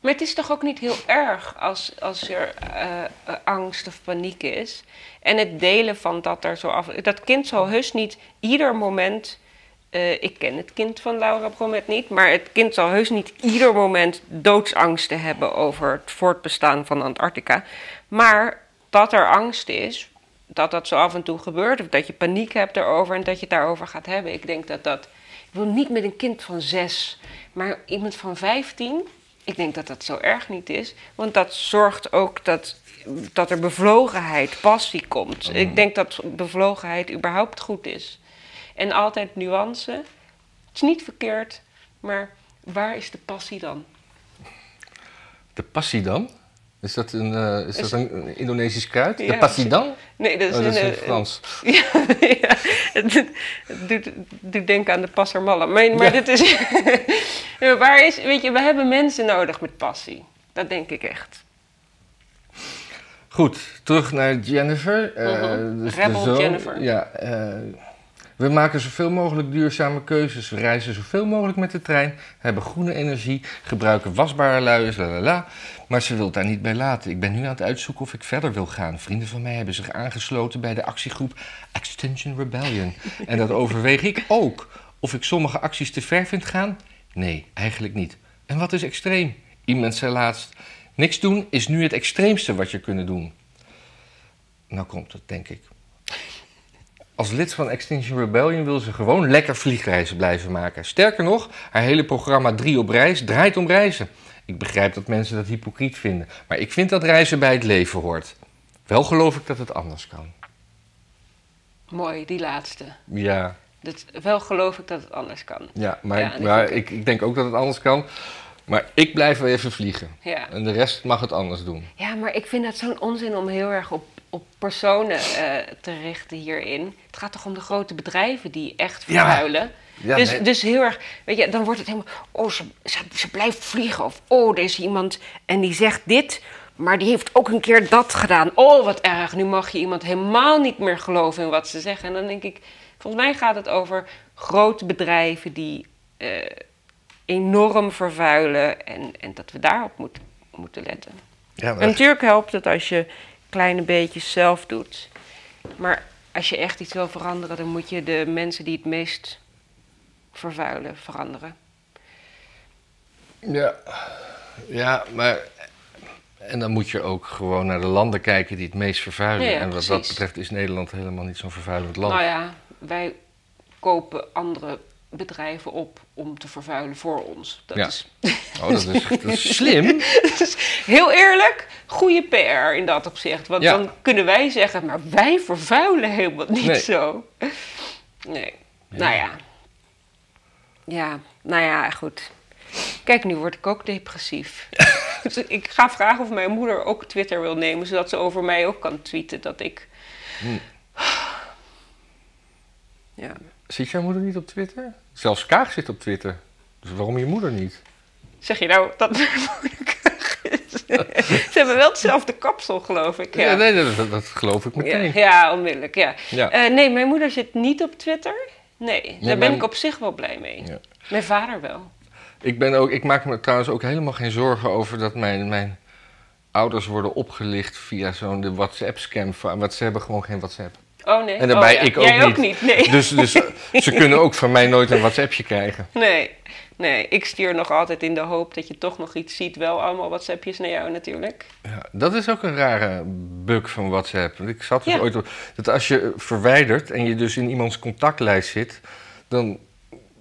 [SPEAKER 2] Maar het is toch ook niet heel erg als, als er eh, eh, angst of paniek is. En het delen van dat er zo af. Dat kind zal heus niet ieder moment. eh, ik ken het kind van Laura Bromet niet, maar het kind zal heus niet ieder moment doodsangsten hebben over het voortbestaan van Antarctica. Maar dat er angst is, dat dat zo af en toe gebeurt, of dat je paniek hebt erover en dat je het daarover gaat hebben. Ik denk dat dat. Ik wil niet met een kind van zes, maar iemand van vijftien. Ik denk dat dat zo erg niet is, want dat zorgt ook dat, dat er bevlogenheid, passie komt. Ik denk dat bevlogenheid überhaupt goed is. En altijd nuance. Het is niet verkeerd, maar waar is de passie dan?
[SPEAKER 1] De passidam? Is dat een, eh, is
[SPEAKER 2] Is-
[SPEAKER 1] dat een een Indonesisch kruid?
[SPEAKER 2] Ja.
[SPEAKER 1] De passidam?
[SPEAKER 2] Nee, dat is,
[SPEAKER 1] Oh, dat is
[SPEAKER 2] een, eh,
[SPEAKER 1] in Frans.
[SPEAKER 2] Ja, ja. Het, doet- het doet, het doet denken aan de passermalle. Maar, maar
[SPEAKER 1] Ja.
[SPEAKER 2] dit is... Ja, waar is... Weet je, we hebben mensen nodig met passie. Dat denk ik echt.
[SPEAKER 1] Goed, terug naar Jennifer. eh,
[SPEAKER 2] Mhm.
[SPEAKER 1] dus de
[SPEAKER 2] Rebel
[SPEAKER 1] zoon.
[SPEAKER 2] Jennifer.
[SPEAKER 1] Ja, eh, We maken zoveel mogelijk duurzame keuzes. We reizen zoveel mogelijk met de trein. Hebben groene energie. Gebruiken wasbare luiers. La la la. Maar ze wil het daar niet bij laten. Ik ben nu aan het uitzoeken of ik verder wil gaan. Vrienden van mij hebben zich aangesloten bij de actiegroep Extinction Rebellion. En dat overweeg ik ook. Of ik sommige acties te ver vind gaan? Nee, eigenlijk niet. En wat is extreem? Iemand zei laatst: Niks doen is nu het extreemste wat je kunt doen. Nou komt het, denk ik. Als lid van Extinction Rebellion wil ze gewoon lekker vliegreizen blijven maken. Sterker nog, haar hele programma 3 op reis draait om reizen. Ik begrijp dat mensen dat hypocriet vinden, maar ik vind dat reizen bij het leven hoort. Wel geloof ik dat het anders kan.
[SPEAKER 2] Mooi, die laatste.
[SPEAKER 1] Ja,
[SPEAKER 2] Dat, wel geloof ik dat het anders kan.
[SPEAKER 1] ja maar,
[SPEAKER 2] Ja, dat
[SPEAKER 1] maar
[SPEAKER 2] vind
[SPEAKER 1] ik, ik denk ook dat het anders kan. Maar ik blijf wel even vliegen.
[SPEAKER 2] Ja.
[SPEAKER 1] En de rest mag het anders doen.
[SPEAKER 2] Ja, maar ik vind dat zo'n onzin om heel erg op, op personen eh, te richten hierin. Het gaat toch om de grote bedrijven die echt
[SPEAKER 1] Ja.
[SPEAKER 2] vervuilen.
[SPEAKER 1] Ja,
[SPEAKER 2] dus,
[SPEAKER 1] nee.
[SPEAKER 2] dus heel erg, weet je, dan wordt het helemaal, oh, ze, ze, ze blijft vliegen. Of, oh, er is iemand en die zegt dit, maar die heeft ook een keer dat gedaan. Oh, wat erg, nu mag je iemand helemaal niet meer geloven in wat ze zeggen. En dan denk ik, volgens mij gaat het over grote bedrijven die eh, enorm vervuilen. En, en dat we daarop moeten moeten letten.
[SPEAKER 1] Ja,
[SPEAKER 2] En natuurlijk helpt het als je kleine beetjes zelf doet. Maar als je echt iets wil veranderen, dan moet je de mensen die het meest vervuilen veranderen.
[SPEAKER 1] Ja, ja, maar. En dan moet je ook gewoon naar de landen kijken die het meest vervuilen.
[SPEAKER 2] Ja, ja,
[SPEAKER 1] en wat dat
[SPEAKER 2] precies.
[SPEAKER 1] betreft is Nederland helemaal niet zo'n vervuilend land.
[SPEAKER 2] Nou ja, wij kopen andere bedrijven op om te vervuilen voor ons. Dat,
[SPEAKER 1] Ja.
[SPEAKER 2] is,
[SPEAKER 1] Oh, dat is, dat is slim.
[SPEAKER 2] dat is Dus heel eerlijk, goede PR in dat opzicht. Want
[SPEAKER 1] Ja.
[SPEAKER 2] dan kunnen wij zeggen, maar wij vervuilen helemaal niet
[SPEAKER 1] Nee.
[SPEAKER 2] zo. Nee. Nou ja. Ja, nou ja, goed. Kijk, nu word ik ook depressief. Dus ik ga vragen of mijn moeder ook Twitter wil nemen, zodat ze over mij ook kan tweeten dat ik.
[SPEAKER 1] Hm.
[SPEAKER 2] Ja.
[SPEAKER 1] Zit jouw moeder niet op Twitter? Zelfs Kaag zit op Twitter. Dus waarom je moeder niet?
[SPEAKER 2] Zeg je nou dat mijn moeder kaag is? Ze hebben wel hetzelfde kapsel, geloof ik.
[SPEAKER 1] Ja,
[SPEAKER 2] Ja,
[SPEAKER 1] nee, dat, dat- dat geloof ik
[SPEAKER 2] ja,
[SPEAKER 1] meteen.
[SPEAKER 2] ja, onmiddellijk, ja.
[SPEAKER 1] Ja.
[SPEAKER 2] Eh, nee, mijn moeder zit niet op Twitter. Nee, daar ben
[SPEAKER 1] mijn-
[SPEAKER 2] ik op zich wel blij mee.
[SPEAKER 1] Ja.
[SPEAKER 2] Mijn vader wel.
[SPEAKER 1] Ik, ben ook, ik maak me trouwens ook helemaal geen zorgen over dat mijn, mijn ouders worden opgelicht via zo'n WhatsApp-scam. van- Want ze hebben gewoon geen WhatsApp.
[SPEAKER 2] Oh nee.
[SPEAKER 1] En daarbij
[SPEAKER 2] Oh, ja.
[SPEAKER 1] ik ook
[SPEAKER 2] Jij ook
[SPEAKER 1] niet.
[SPEAKER 2] niet, nee.
[SPEAKER 1] Dus, dus ze kunnen ook van mij nooit een WhatsAppje krijgen.
[SPEAKER 2] Nee, nee, ik stuur nog altijd in de hoop dat je toch nog iets ziet. Wel allemaal WhatsAppjes naar jou natuurlijk.
[SPEAKER 1] Ja, dat is ook een rare bug van WhatsApp. Want Ik zat dus
[SPEAKER 2] Ja.
[SPEAKER 1] ooit op, dat als je verwijdert en je dus in iemands contactlijst zit, dan,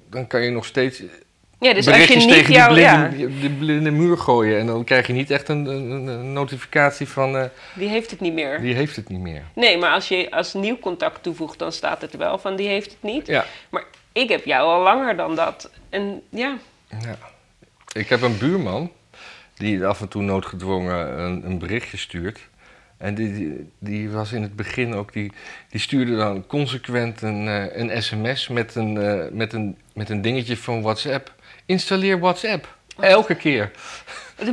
[SPEAKER 1] dan kan je nog steeds
[SPEAKER 2] Ja, dus als je
[SPEAKER 1] berichtjes
[SPEAKER 2] niet
[SPEAKER 1] tegen
[SPEAKER 2] jou...
[SPEAKER 1] die,
[SPEAKER 2] ja,
[SPEAKER 1] blinde, die blinde muur gooien. En dan krijg je niet echt een, een, een notificatie van eh,
[SPEAKER 2] die heeft het niet meer.
[SPEAKER 1] die heeft het niet meer.
[SPEAKER 2] Nee, maar als je als nieuw contact toevoegt, dan staat het er wel van die heeft het niet.
[SPEAKER 1] Ja.
[SPEAKER 2] Maar ik heb jou al langer dan dat. En ja,
[SPEAKER 1] Ja. Ik heb een buurman die af en toe noodgedwongen een, een berichtje stuurt. En die, die, die was in het begin ook, die, die stuurde dan consequent een, eh, een sms met een, eh, met, een, met een dingetje van WhatsApp. Installeer WhatsApp. Elke keer.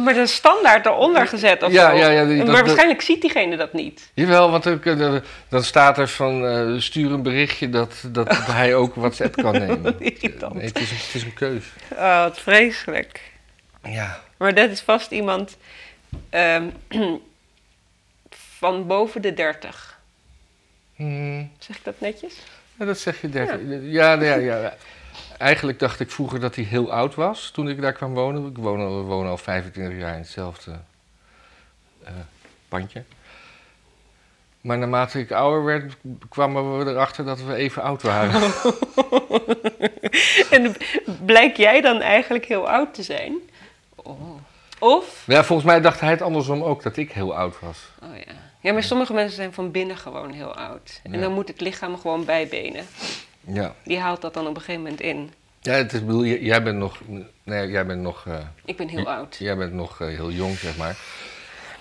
[SPEAKER 2] maar dat is standaard eronder gezet of
[SPEAKER 1] Ja,
[SPEAKER 2] zo.
[SPEAKER 1] ja, ja, die-
[SPEAKER 2] maar
[SPEAKER 1] dat- dat-
[SPEAKER 2] waarschijnlijk ziet diegene dat niet.
[SPEAKER 1] Jawel, want ook, eh, dan, dan staat er van eh, stuur een berichtje dat, dat hij ook WhatsApp kan nemen.
[SPEAKER 2] Irritant.
[SPEAKER 1] Nee, het is, een- het is een keus.
[SPEAKER 2] Oh, wat vreselijk.
[SPEAKER 1] Ja.
[SPEAKER 2] Maar dat is vast iemand ehm, van boven de 30.
[SPEAKER 1] Hmm.
[SPEAKER 2] Zeg ik dat netjes?
[SPEAKER 1] Ja, dat zeg je 30. Ja. Ja, ja, Eigenlijk dacht ik vroeger dat hij heel oud was toen ik daar kwam wonen. Ik woon al, we wonen al 25 jaar in hetzelfde eh, pandje. Maar naarmate ik ouder werd, kwamen we erachter dat we even oud waren.
[SPEAKER 2] En blijk jij dan eigenlijk heel oud te zijn? Oh. Of?
[SPEAKER 1] ja, volgens mij dacht hij het andersom ook, dat ik heel oud was.
[SPEAKER 2] Oh ja. Ja, maar sommige mensen zijn van binnen gewoon heel oud. En
[SPEAKER 1] Ja.
[SPEAKER 2] dan moet het lichaam gewoon bijbenen.
[SPEAKER 1] Ja,
[SPEAKER 2] Die haalt dat dan op een gegeven moment in.
[SPEAKER 1] ja het is, ik bedoel, j- jij bent nog, nee, jij bent nog, eh,
[SPEAKER 2] Ik ben heel oud.
[SPEAKER 1] jij bent nog eh, heel jong, zeg maar.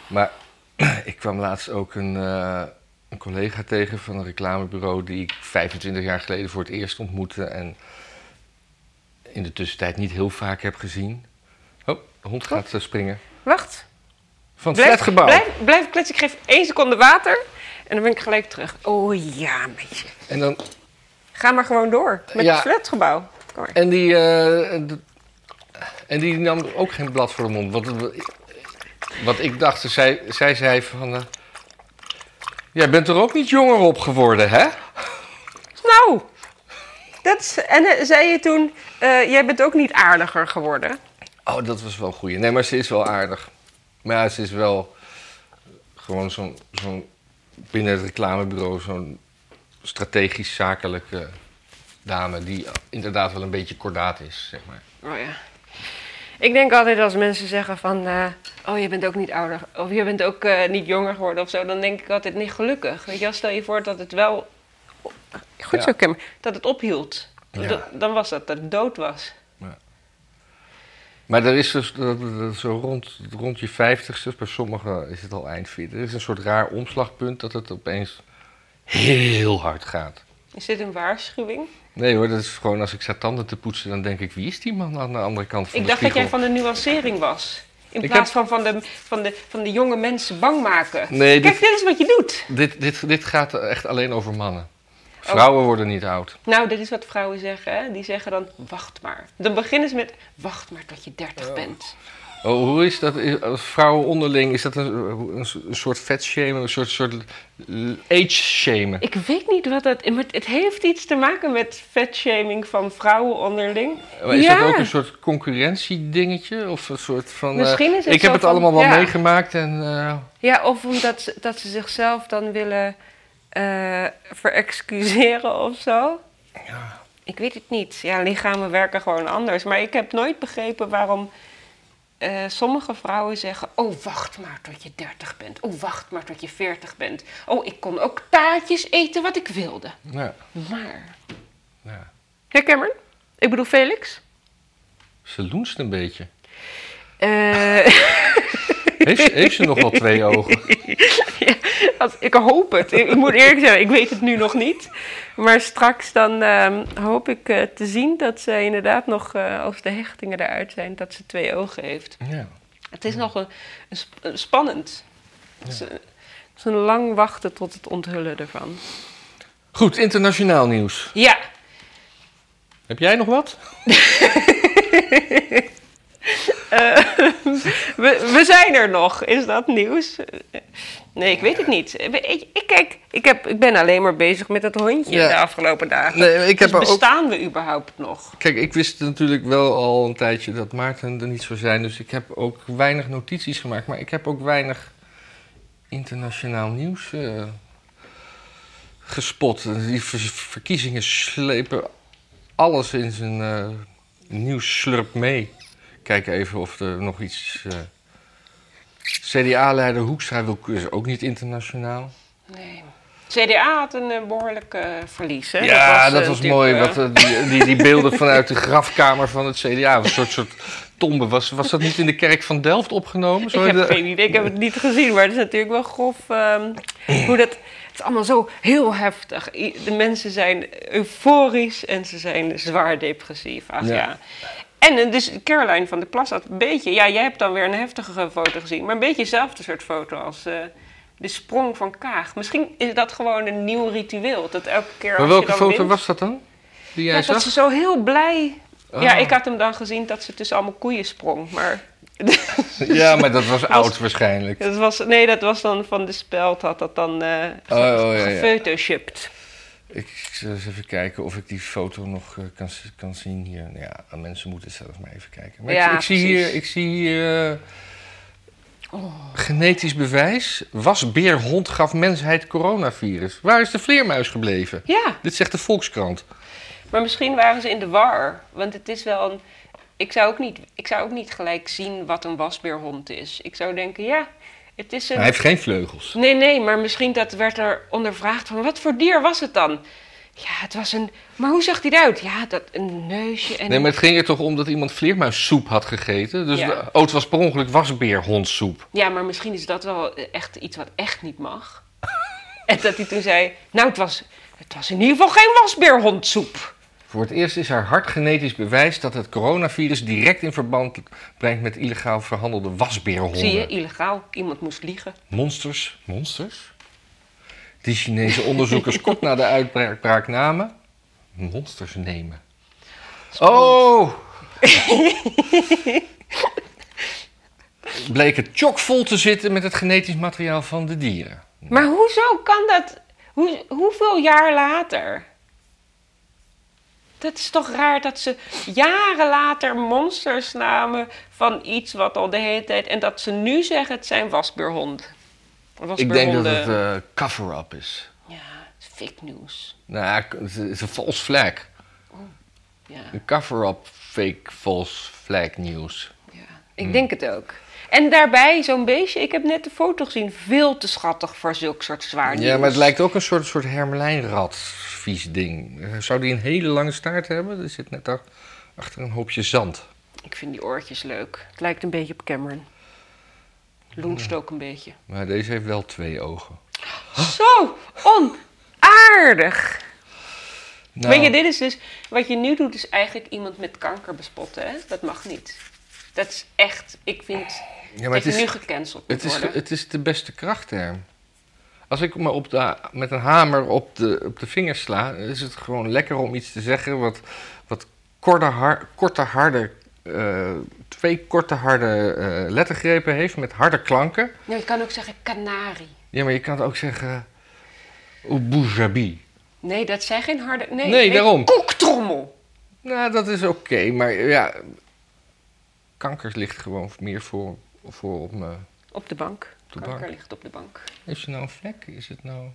[SPEAKER 1] Maar ik kwam laatst ook een, eh, een collega tegen van een reclamebureau die ik 25 jaar geleden voor het eerst ontmoette en in de tussentijd niet heel vaak heb gezien. Oh, de hond gaat eh, springen.
[SPEAKER 2] Wacht.
[SPEAKER 1] Van het
[SPEAKER 2] Blijf,
[SPEAKER 1] flatgebouw.
[SPEAKER 2] Blijf, blijf kletsen. Ik geef één seconde water. En dan ben ik gelijk terug. Oh ja, meisje.
[SPEAKER 1] En dan
[SPEAKER 2] Ga maar gewoon door met
[SPEAKER 1] Ja.
[SPEAKER 2] het flatgebouw. Kom maar.
[SPEAKER 1] En die, eh, d- en die nam ook geen blad voor de mond. Want, het- wat ik dacht, zij, zij zei van... eh, Jij bent er ook niet jonger op geworden, hè?
[SPEAKER 2] Nou, dat is, en eh, zei je toen, eh, jij bent ook niet aardiger geworden.
[SPEAKER 1] Oh, dat was wel een goeie. Nee, maar ze is wel aardig. Maar ja, ze is wel gewoon zo'n... zo'n binnen het reclamebureau zo'n strategisch zakelijke dame... die inderdaad wel een beetje kordaat is, zeg maar.
[SPEAKER 2] Oh ja. Ik denk altijd als mensen zeggen van, eh, oh je bent ook niet ouder, of je bent ook eh, niet jonger geworden of zo, dan denk ik altijd niet gelukkig. Weet je, wel, stel je voor dat het wel, goed
[SPEAKER 1] Ja.
[SPEAKER 2] zo Kim, dat het ophield.
[SPEAKER 1] Ja.
[SPEAKER 2] Dat- dan was dat dat het dood was.
[SPEAKER 1] Maar er is dus dat- dat- zo rond, rond je vijftigste, bij sommigen is het al eind veertig, er is een soort raar omslagpunt dat het opeens heel hard gaat.
[SPEAKER 2] Is dit een waarschuwing?
[SPEAKER 1] Nee hoor, dat is gewoon als ik sta tanden te poetsen, dan denk ik, wie is die man aan de andere kant van
[SPEAKER 2] ik
[SPEAKER 1] de
[SPEAKER 2] dacht dat
[SPEAKER 1] spiegel?
[SPEAKER 2] jij van de nuancering was. In
[SPEAKER 1] Ik
[SPEAKER 2] plaats van van de, van, de, van de jonge mensen bang maken.
[SPEAKER 1] Nee,
[SPEAKER 2] Kijk,
[SPEAKER 1] dit,
[SPEAKER 2] dit is wat je doet.
[SPEAKER 1] dit, dit, dit gaat echt alleen over mannen.
[SPEAKER 2] Oh.
[SPEAKER 1] Vrouwen worden niet oud.
[SPEAKER 2] Nou, dit is wat vrouwen zeggen. Hè? Die zeggen dan, wacht maar. Dan beginnen ze met, wacht maar tot je dertig bent.
[SPEAKER 1] Oh, hoe is dat eh, als vrouwen onderling? Is dat een, een, een soort vetshamen, een soort, soort age-shamen?
[SPEAKER 2] Ik weet niet wat dat... Maar het heeft iets te maken met vetshaming van vrouwen onderling.
[SPEAKER 1] Maar is
[SPEAKER 2] Ja.
[SPEAKER 1] dat ook een soort concurrentiedingetje? Of een soort van. eh,
[SPEAKER 2] Misschien is het
[SPEAKER 1] ik heb
[SPEAKER 2] zo
[SPEAKER 1] het
[SPEAKER 2] van-
[SPEAKER 1] allemaal wel
[SPEAKER 2] ja.
[SPEAKER 1] meegemaakt en. eh,
[SPEAKER 2] Ja, of omdat ze, dat ze zichzelf dan willen eh, verexcuseren of zo.
[SPEAKER 1] Ja.
[SPEAKER 2] Ik weet het niet. Ja, lichamen werken gewoon anders. Maar ik heb nooit begrepen waarom eh, sommige vrouwen zeggen... Oh, wacht maar tot je dertig bent. Oh, wacht maar tot je veertig bent. Oh, ik kon ook taartjes eten wat ik wilde.
[SPEAKER 1] ja,
[SPEAKER 2] Maar...
[SPEAKER 1] ja.
[SPEAKER 2] Ja, Cameron? Ik bedoel Felix?
[SPEAKER 1] Ze loenst een beetje.
[SPEAKER 2] Eh...
[SPEAKER 1] Heeft, ze- heeft ze nog wel twee ogen?
[SPEAKER 2] Ja, als- ik hoop het. Ik, ik moet eerlijk zeggen, ik weet het nu nog niet. Maar straks dan ehm, hoop ik eh, te zien dat ze inderdaad nog, eh, als de hechtingen eruit zijn, dat ze twee ogen heeft.
[SPEAKER 1] Ja.
[SPEAKER 2] Het is nog een, een sp- een spannend. Het is, eh, het is een lang wachten tot het onthullen ervan.
[SPEAKER 1] Goed, internationaal nieuws.
[SPEAKER 2] Ja,
[SPEAKER 1] Heb jij nog wat?
[SPEAKER 2] we, we zijn er nog. Is dat nieuws? Nee, ik weet het niet. Ik, ik, kijk, ik, heb, ik ben alleen maar bezig met dat hondje
[SPEAKER 1] Ja.
[SPEAKER 2] de afgelopen dagen.
[SPEAKER 1] Nee, ik heb
[SPEAKER 2] dus
[SPEAKER 1] er ook.
[SPEAKER 2] bestaan we überhaupt nog?
[SPEAKER 1] Kijk, ik wist natuurlijk wel al een tijdje dat Maarten er niet zou zijn. Dus ik heb ook weinig notities gemaakt. Maar ik heb ook weinig internationaal nieuws eh, gespot. Die ver- verkiezingen slepen alles in zijn eh nieuwsslurp mee. Kijk even of er nog iets... eh, CDA-leider Hoekstra wil, is ook niet internationaal.
[SPEAKER 2] Nee. CDA had een eh, behoorlijk eh, verlies, hè?
[SPEAKER 1] Ja, dat was,
[SPEAKER 2] eh,
[SPEAKER 1] mooi.
[SPEAKER 2] natuurlijk,
[SPEAKER 1] Wat, eh, die, die, die beelden vanuit de grafkamer van het CDA. Een soort, soort tombe. Was, was dat niet in de kerk van Delft opgenomen?
[SPEAKER 2] eh,
[SPEAKER 1] Zo
[SPEAKER 2] ik heb
[SPEAKER 1] de-
[SPEAKER 2] geen idee, ik heb het niet gezien, maar het is natuurlijk wel grof ehm, hoe dat... Het is allemaal zo heel heftig. I- De mensen zijn euforisch en ze zijn zwaar depressief. Ach ja.
[SPEAKER 1] Ja.
[SPEAKER 2] En eh, dus Caroline van der Plas had een beetje... Ja, jij hebt dan weer een heftige foto gezien, maar een beetje hetzelfde soort foto als... eh, de sprong van Kaag. Misschien is dat gewoon een nieuw ritueel. Dat elke keer als
[SPEAKER 1] Maar
[SPEAKER 2] je
[SPEAKER 1] welke
[SPEAKER 2] dan
[SPEAKER 1] foto
[SPEAKER 2] wint-
[SPEAKER 1] was dat dan? Die jij
[SPEAKER 2] Ja, dat
[SPEAKER 1] zag?
[SPEAKER 2] ze zo heel blij.
[SPEAKER 1] Ah.
[SPEAKER 2] Ja, ik had hem dan gezien dat ze tussen allemaal koeien sprong. Maar
[SPEAKER 1] Ja, maar dat was, oud waarschijnlijk.
[SPEAKER 2] dat was, nee, dat was dan van de speld, had dat dan eh
[SPEAKER 1] Oh, oh, ja, ja.
[SPEAKER 2] gefotoshopt.
[SPEAKER 1] Ik zal eens even kijken of ik die foto nog eh, kan, z- kan zien hier. Nou Ja, mensen moeten zelf maar even kijken. Maar ik-
[SPEAKER 2] Ja,
[SPEAKER 1] ik, zie
[SPEAKER 2] precies.
[SPEAKER 1] hier... Ik zie hier eh, Genetisch bewijs. Wasbeerhond gaf mensheid coronavirus. Waar is de vleermuis gebleven?
[SPEAKER 2] Ja,
[SPEAKER 1] Dit zegt de Volkskrant.
[SPEAKER 2] maar misschien waren ze in de war. Want het is wel een... Ik zou ook niet, ik zou ook niet gelijk zien wat een wasbeerhond is. Ik zou denken, ja, het is een...
[SPEAKER 1] Hij heeft geen vleugels.
[SPEAKER 2] Nee, nee, maar misschien dat werd er ondervraagd van wat voor dier was het dan? Ja, het was een... Maar hoe zag die eruit? Ja, dat een neusje en
[SPEAKER 1] Nee,
[SPEAKER 2] een
[SPEAKER 1] maar het ging er toch om dat iemand vleermuissoep had gegeten. Dus
[SPEAKER 2] Ja.
[SPEAKER 1] de- oh, het was per ongeluk wasbeerhondsoep.
[SPEAKER 2] Ja, maar misschien is dat wel echt iets wat echt niet mag. en dat hij toen zei, nou het was, het was in ieder geval geen wasbeerhondsoep.
[SPEAKER 1] Voor het eerst is haar hard genetisch bewijs dat het coronavirus direct in verband brengt met illegaal verhandelde wasbeerhonden.
[SPEAKER 2] Zie je, illegaal. Iemand moest liegen.
[SPEAKER 1] Monsters, monsters? Die Chinese onderzoekers kort na de uitbraak namen. monsters nemen. Oh! Bleek het chockvol te zitten met het genetisch materiaal van de dieren.
[SPEAKER 2] Maar hoezo kan dat? Hoe, hoeveel jaar later? Dat is toch raar dat ze jaren later monsters namen van iets wat al de hele tijd. En dat ze nu zeggen het zijn wasbeerhond.
[SPEAKER 1] Ik denk dat het eh, cover-up is.
[SPEAKER 2] Ja, het is fake news.
[SPEAKER 1] Nou, het is- het is een vals flag.
[SPEAKER 2] Ja,
[SPEAKER 1] Een cover-up fake vals flag nieuws.
[SPEAKER 2] ja. Ik
[SPEAKER 1] Hm.
[SPEAKER 2] denk het ook. En daarbij zo'n beestje, ik heb net de foto gezien, veel te schattig voor zulk soort zwaar nieuws.
[SPEAKER 1] Ja, maar het lijkt ook een soort, soort hermelijnrat vies ding. Eh, Zou die een hele lange staart hebben? Die zit net daar achter een hoopje zand.
[SPEAKER 2] Ik vind die oortjes leuk. Het lijkt een beetje op Cameron. Loenst ook een beetje.
[SPEAKER 1] Maar deze heeft wel twee ogen.
[SPEAKER 2] Zo onaardig.
[SPEAKER 1] Nou,
[SPEAKER 2] Weet je, dit is dus... Wat je nu doet is eigenlijk iemand met kanker bespotten, hè? Dat mag niet. Dat is echt... Ik vind
[SPEAKER 1] ja, maar
[SPEAKER 2] dat
[SPEAKER 1] het
[SPEAKER 2] je nu
[SPEAKER 1] is,
[SPEAKER 2] gecanceld moet
[SPEAKER 1] het, is,
[SPEAKER 2] worden.
[SPEAKER 1] het is de beste krachtterm. Als ik me op de, met een hamer op de, op de vingers sla, is het gewoon lekker om iets te zeggen wat, wat korte, har- korte harde, eh, twee korte harde eh, lettergrepen heeft met harde klanken.
[SPEAKER 2] Ja, je kan ook zeggen kanarie.
[SPEAKER 1] Ja, maar je kan het ook zeggen. Boujabi.
[SPEAKER 2] Nee, dat zijn geen harde... Nee,
[SPEAKER 1] Nee,
[SPEAKER 2] weet-
[SPEAKER 1] daarom.
[SPEAKER 2] Koektrommel.
[SPEAKER 1] Nou, dat is oké, maar ja. Kanker ligt gewoon meer voor, voor op me.
[SPEAKER 2] Op de bank.
[SPEAKER 1] de
[SPEAKER 2] kanker
[SPEAKER 1] bank.
[SPEAKER 2] ligt op de bank.
[SPEAKER 1] Heeft ze nou een vlek? Is het nou.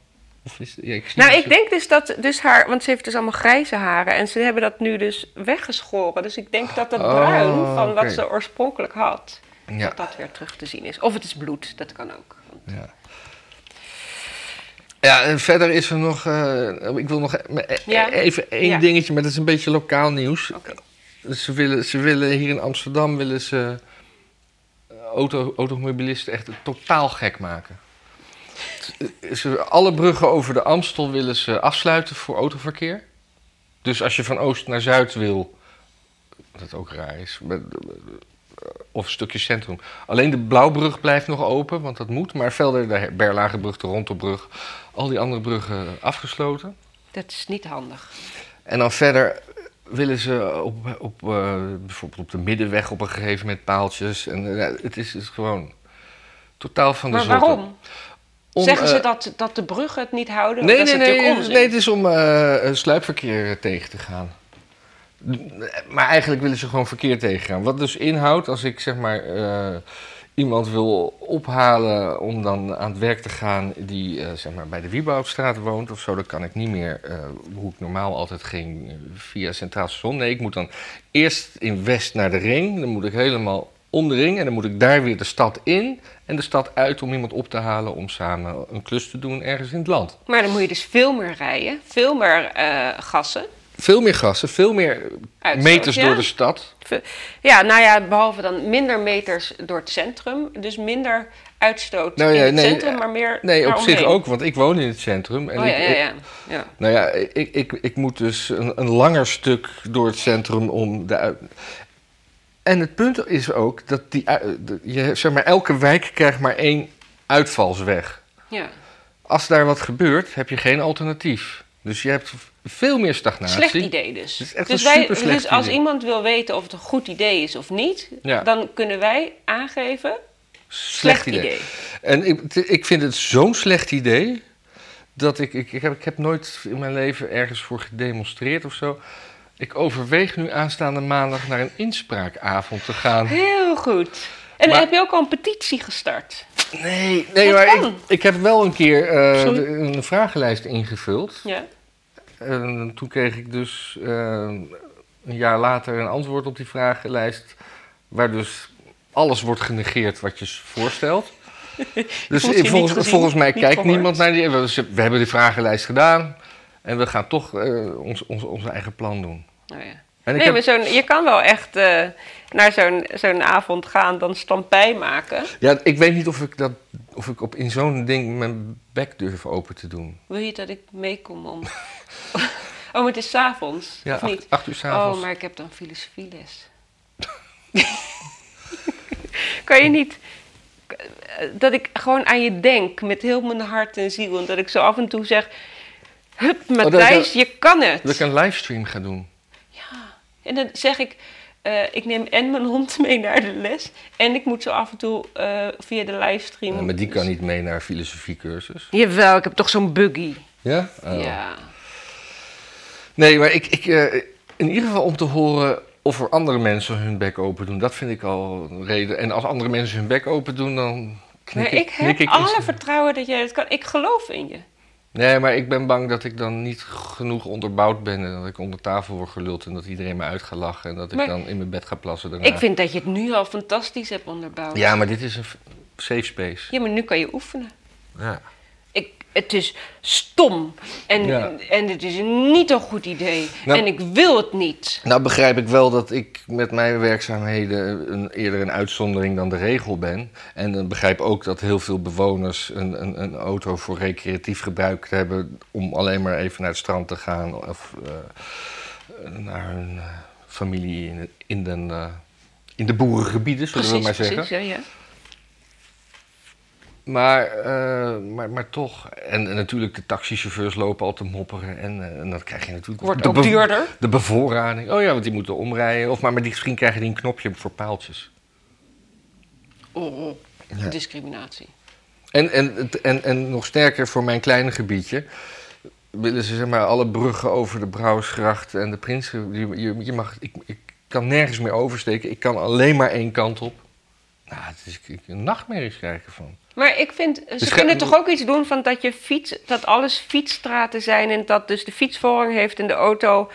[SPEAKER 1] Of is ja, ik zie
[SPEAKER 2] Nou,
[SPEAKER 1] het
[SPEAKER 2] ik
[SPEAKER 1] zo-
[SPEAKER 2] denk dus dat dus haar... Want ze heeft dus allemaal grijze haren. En ze hebben dat nu dus weggeschoren. Dus ik denk dat dat
[SPEAKER 1] Oh,
[SPEAKER 2] bruin van
[SPEAKER 1] oké.
[SPEAKER 2] wat ze oorspronkelijk had...
[SPEAKER 1] Ja,
[SPEAKER 2] dat dat weer terug te zien is. Of het is bloed, dat kan ook.
[SPEAKER 1] ja. Ja, en verder is er nog. eh, ik wil nog e- e-
[SPEAKER 2] Ja.
[SPEAKER 1] even één
[SPEAKER 2] Ja.
[SPEAKER 1] dingetje, maar dat is een beetje lokaal nieuws. Dus
[SPEAKER 2] Oké.
[SPEAKER 1] Ze willen, ze willen hier in Amsterdam willen ze eh, auto, automobilisten echt totaal gek maken. Ze, alle bruggen over de Amstel willen ze afsluiten voor autoverkeer. Dus als je van oost naar zuid wil, dat ook raar is, maar- eh, of een stukje centrum. Alleen de Blauwbrug blijft nog open, want dat moet. Maar verder de Berlagebrug, de Rontelbrug, al die andere bruggen afgesloten.
[SPEAKER 2] Dat is niet handig.
[SPEAKER 1] En dan verder willen ze op, op, eh, bijvoorbeeld op de middenweg op een gegeven moment paaltjes. En, eh, het, is, dus gewoon totaal van de
[SPEAKER 2] Maar
[SPEAKER 1] zotte.
[SPEAKER 2] waarom?
[SPEAKER 1] Om,
[SPEAKER 2] Zeggen ze
[SPEAKER 1] eh,
[SPEAKER 2] dat, dat de bruggen het niet houden?
[SPEAKER 1] Nee,
[SPEAKER 2] dat
[SPEAKER 1] nee,
[SPEAKER 2] is
[SPEAKER 1] nee,
[SPEAKER 2] natuurlijk onzin.
[SPEAKER 1] nee, het is om eh, eh, sluipverkeer tegen te gaan. Maar eigenlijk willen ze gewoon verkeer tegengaan. Wat dus inhoudt, als ik zeg maar eh, iemand wil ophalen om dan aan het werk te gaan die eh, zeg maar bij de Wieboudstraat woont of zo, dan kan ik niet meer eh, hoe ik normaal altijd ging eh, via Centraal Station. Nee, ik moet dan eerst in West naar de Ring, dan moet ik helemaal om de Ring en dan moet ik daar weer de stad in en de stad uit om iemand op te halen om samen een klus te doen ergens in het land.
[SPEAKER 2] Maar dan moet je dus veel meer rijden, veel meer eh, gassen.
[SPEAKER 1] Veel meer gassen, veel meer
[SPEAKER 2] Uitstoot,
[SPEAKER 1] meters
[SPEAKER 2] ja.
[SPEAKER 1] door de stad.
[SPEAKER 2] Ve- Ja, nou ja, behalve dan minder meters door het centrum. Dus minder uitstoot
[SPEAKER 1] Nou ja,
[SPEAKER 2] in het
[SPEAKER 1] nee,
[SPEAKER 2] centrum, maar meer
[SPEAKER 1] Nee, op zich
[SPEAKER 2] daaromheen.
[SPEAKER 1] ook, want ik woon in het centrum. En
[SPEAKER 2] Oh ja,
[SPEAKER 1] ik,
[SPEAKER 2] ja,
[SPEAKER 1] ik-
[SPEAKER 2] ja. ja.
[SPEAKER 1] nou ja, ik, ik, ik moet dus een, een langer stuk door het centrum om de... uit- En het punt is ook dat die, ui- de- je, zeg maar, elke wijk krijgt maar één uitvalsweg.
[SPEAKER 2] ja.
[SPEAKER 1] Als daar wat gebeurt, heb je geen alternatief. Dus je hebt veel meer stagnatie.
[SPEAKER 2] Slecht idee dus.
[SPEAKER 1] Het is echt
[SPEAKER 2] dus
[SPEAKER 1] een superslecht
[SPEAKER 2] dus als
[SPEAKER 1] idee.
[SPEAKER 2] iemand wil weten of het een goed idee is of niet,
[SPEAKER 1] Ja.
[SPEAKER 2] dan kunnen wij aangeven
[SPEAKER 1] Slecht idee. En ik, t- ik vind het zo'n slecht idee. Dat ik, ik, ik, heb, ik heb nooit in mijn leven ergens voor gedemonstreerd of zo. Ik overweeg nu aanstaande maandag naar een inspraakavond te gaan.
[SPEAKER 2] Heel goed. En
[SPEAKER 1] Maar-
[SPEAKER 2] heb je ook al een petitie gestart?
[SPEAKER 1] Nee, nee
[SPEAKER 2] Dat
[SPEAKER 1] maar ik,
[SPEAKER 2] kan.
[SPEAKER 1] ik heb wel een keer eh,
[SPEAKER 2] Sorry.
[SPEAKER 1] de- een vragenlijst ingevuld.
[SPEAKER 2] Ja.
[SPEAKER 1] En toen kreeg ik dus eh, een jaar later een antwoord op die vragenlijst. Waar dus alles wordt genegeerd wat je s- voorstelt. Dus
[SPEAKER 2] Voelt je niet
[SPEAKER 1] volgens,
[SPEAKER 2] gezien,
[SPEAKER 1] volgens mij
[SPEAKER 2] niet
[SPEAKER 1] kijkt
[SPEAKER 2] gehoord.
[SPEAKER 1] niemand naar die. We, we hebben die vragenlijst gedaan. En we gaan toch eh, ons, ons, ons eigen plan doen.
[SPEAKER 2] Oh, ja.
[SPEAKER 1] En ik heb-
[SPEAKER 2] Nee, maar zo'n, je kan wel echt eh, naar zo'n, zo'n avond gaan, dan stampij maken.
[SPEAKER 1] ja, ik weet niet of ik, dat, of ik op, in zo'n ding mijn bek durf open te doen.
[SPEAKER 2] Wil je dat ik meekom om... oh, maar het is 's avonds,
[SPEAKER 1] Ja,
[SPEAKER 2] of niet?
[SPEAKER 1] acht, acht uur s'avonds.
[SPEAKER 2] Oh, maar ik heb dan filosofieles. kan je niet... Dat ik gewoon aan je denk met heel mijn hart en ziel. En dat ik zo af en toe zeg... Hup, Matthijs,
[SPEAKER 1] Oh, dat-
[SPEAKER 2] je kan het.
[SPEAKER 1] Dat ik een livestream ga doen.
[SPEAKER 2] Ja. En dan zeg ik, eh, ik neem en mijn hond mee naar de les. En ik moet zo af en toe eh, via de livestream.
[SPEAKER 1] Ja, maar die kan niet mee naar een filosofiecursus.
[SPEAKER 2] Jawel, ik heb toch zo'n buggy.
[SPEAKER 1] Ja? Oh.
[SPEAKER 2] Ja.
[SPEAKER 1] Nee, maar ik, ik, eh, in ieder geval om te horen of er andere mensen hun bek open doen. Dat vind ik al een reden. En als andere mensen hun bek open doen, dan knik
[SPEAKER 2] Maar
[SPEAKER 1] ik.
[SPEAKER 2] ik
[SPEAKER 1] knik
[SPEAKER 2] heb
[SPEAKER 1] ik
[SPEAKER 2] alle
[SPEAKER 1] instant.
[SPEAKER 2] vertrouwen dat jij het kan. Ik geloof in je.
[SPEAKER 1] Nee, maar ik ben bang dat ik dan niet genoeg onderbouwd ben. En dat ik onder tafel word geluld en dat iedereen me uit gaat lachen. En dat ik
[SPEAKER 2] Maar-
[SPEAKER 1] dan in mijn bed ga plassen daarna.
[SPEAKER 2] Ik vind dat je het nu al fantastisch hebt onderbouwd.
[SPEAKER 1] Ja, maar dit is een f- safe space.
[SPEAKER 2] Ja, maar nu kan je oefenen.
[SPEAKER 1] Ja.
[SPEAKER 2] Ik, het is stom. En,
[SPEAKER 1] Ja.
[SPEAKER 2] en het is niet een goed idee.
[SPEAKER 1] Nou-
[SPEAKER 2] en ik wil het niet.
[SPEAKER 1] Nou begrijp ik wel dat ik met mijn werkzaamheden een, eerder een uitzondering dan de regel ben. En dan begrijp ook dat heel veel bewoners een, een, een auto voor recreatief gebruik hebben... om alleen maar even naar het strand te gaan of eh, naar hun eh, familie in, de- in, den, eh, in de boerengebieden, zullen we maar zeggen.
[SPEAKER 2] precies. Ja, ja.
[SPEAKER 1] Maar, eh, maar, maar toch. En, en natuurlijk, de taxichauffeurs lopen al te mopperen. En, eh, en dat krijg je natuurlijk.
[SPEAKER 2] Wordt
[SPEAKER 1] de
[SPEAKER 2] ook
[SPEAKER 1] bev-
[SPEAKER 2] duurder.
[SPEAKER 1] De bevoorrading. Oh ja, want die moeten omrijden. Of maar, maar die, misschien krijgen die een knopje voor paaltjes.
[SPEAKER 2] Oh, oh.
[SPEAKER 1] Ja.
[SPEAKER 2] Discriminatie.
[SPEAKER 1] En, en, het- en, en nog sterker voor mijn kleine gebiedje. Willen ze zeg maar alle bruggen over de Brouwersgracht en de Prinsen. Je, je, je mag, ik, ik kan nergens meer oversteken. Ik kan alleen maar één kant op. Nou, het is, ik, een nachtmerries krijg ik ervan.
[SPEAKER 2] Maar ik vind, ze
[SPEAKER 1] Dus ga-
[SPEAKER 2] kunnen toch ook iets doen van dat je fiets, dat alles fietsstraten zijn en dat dus de fiets voorrang heeft en de auto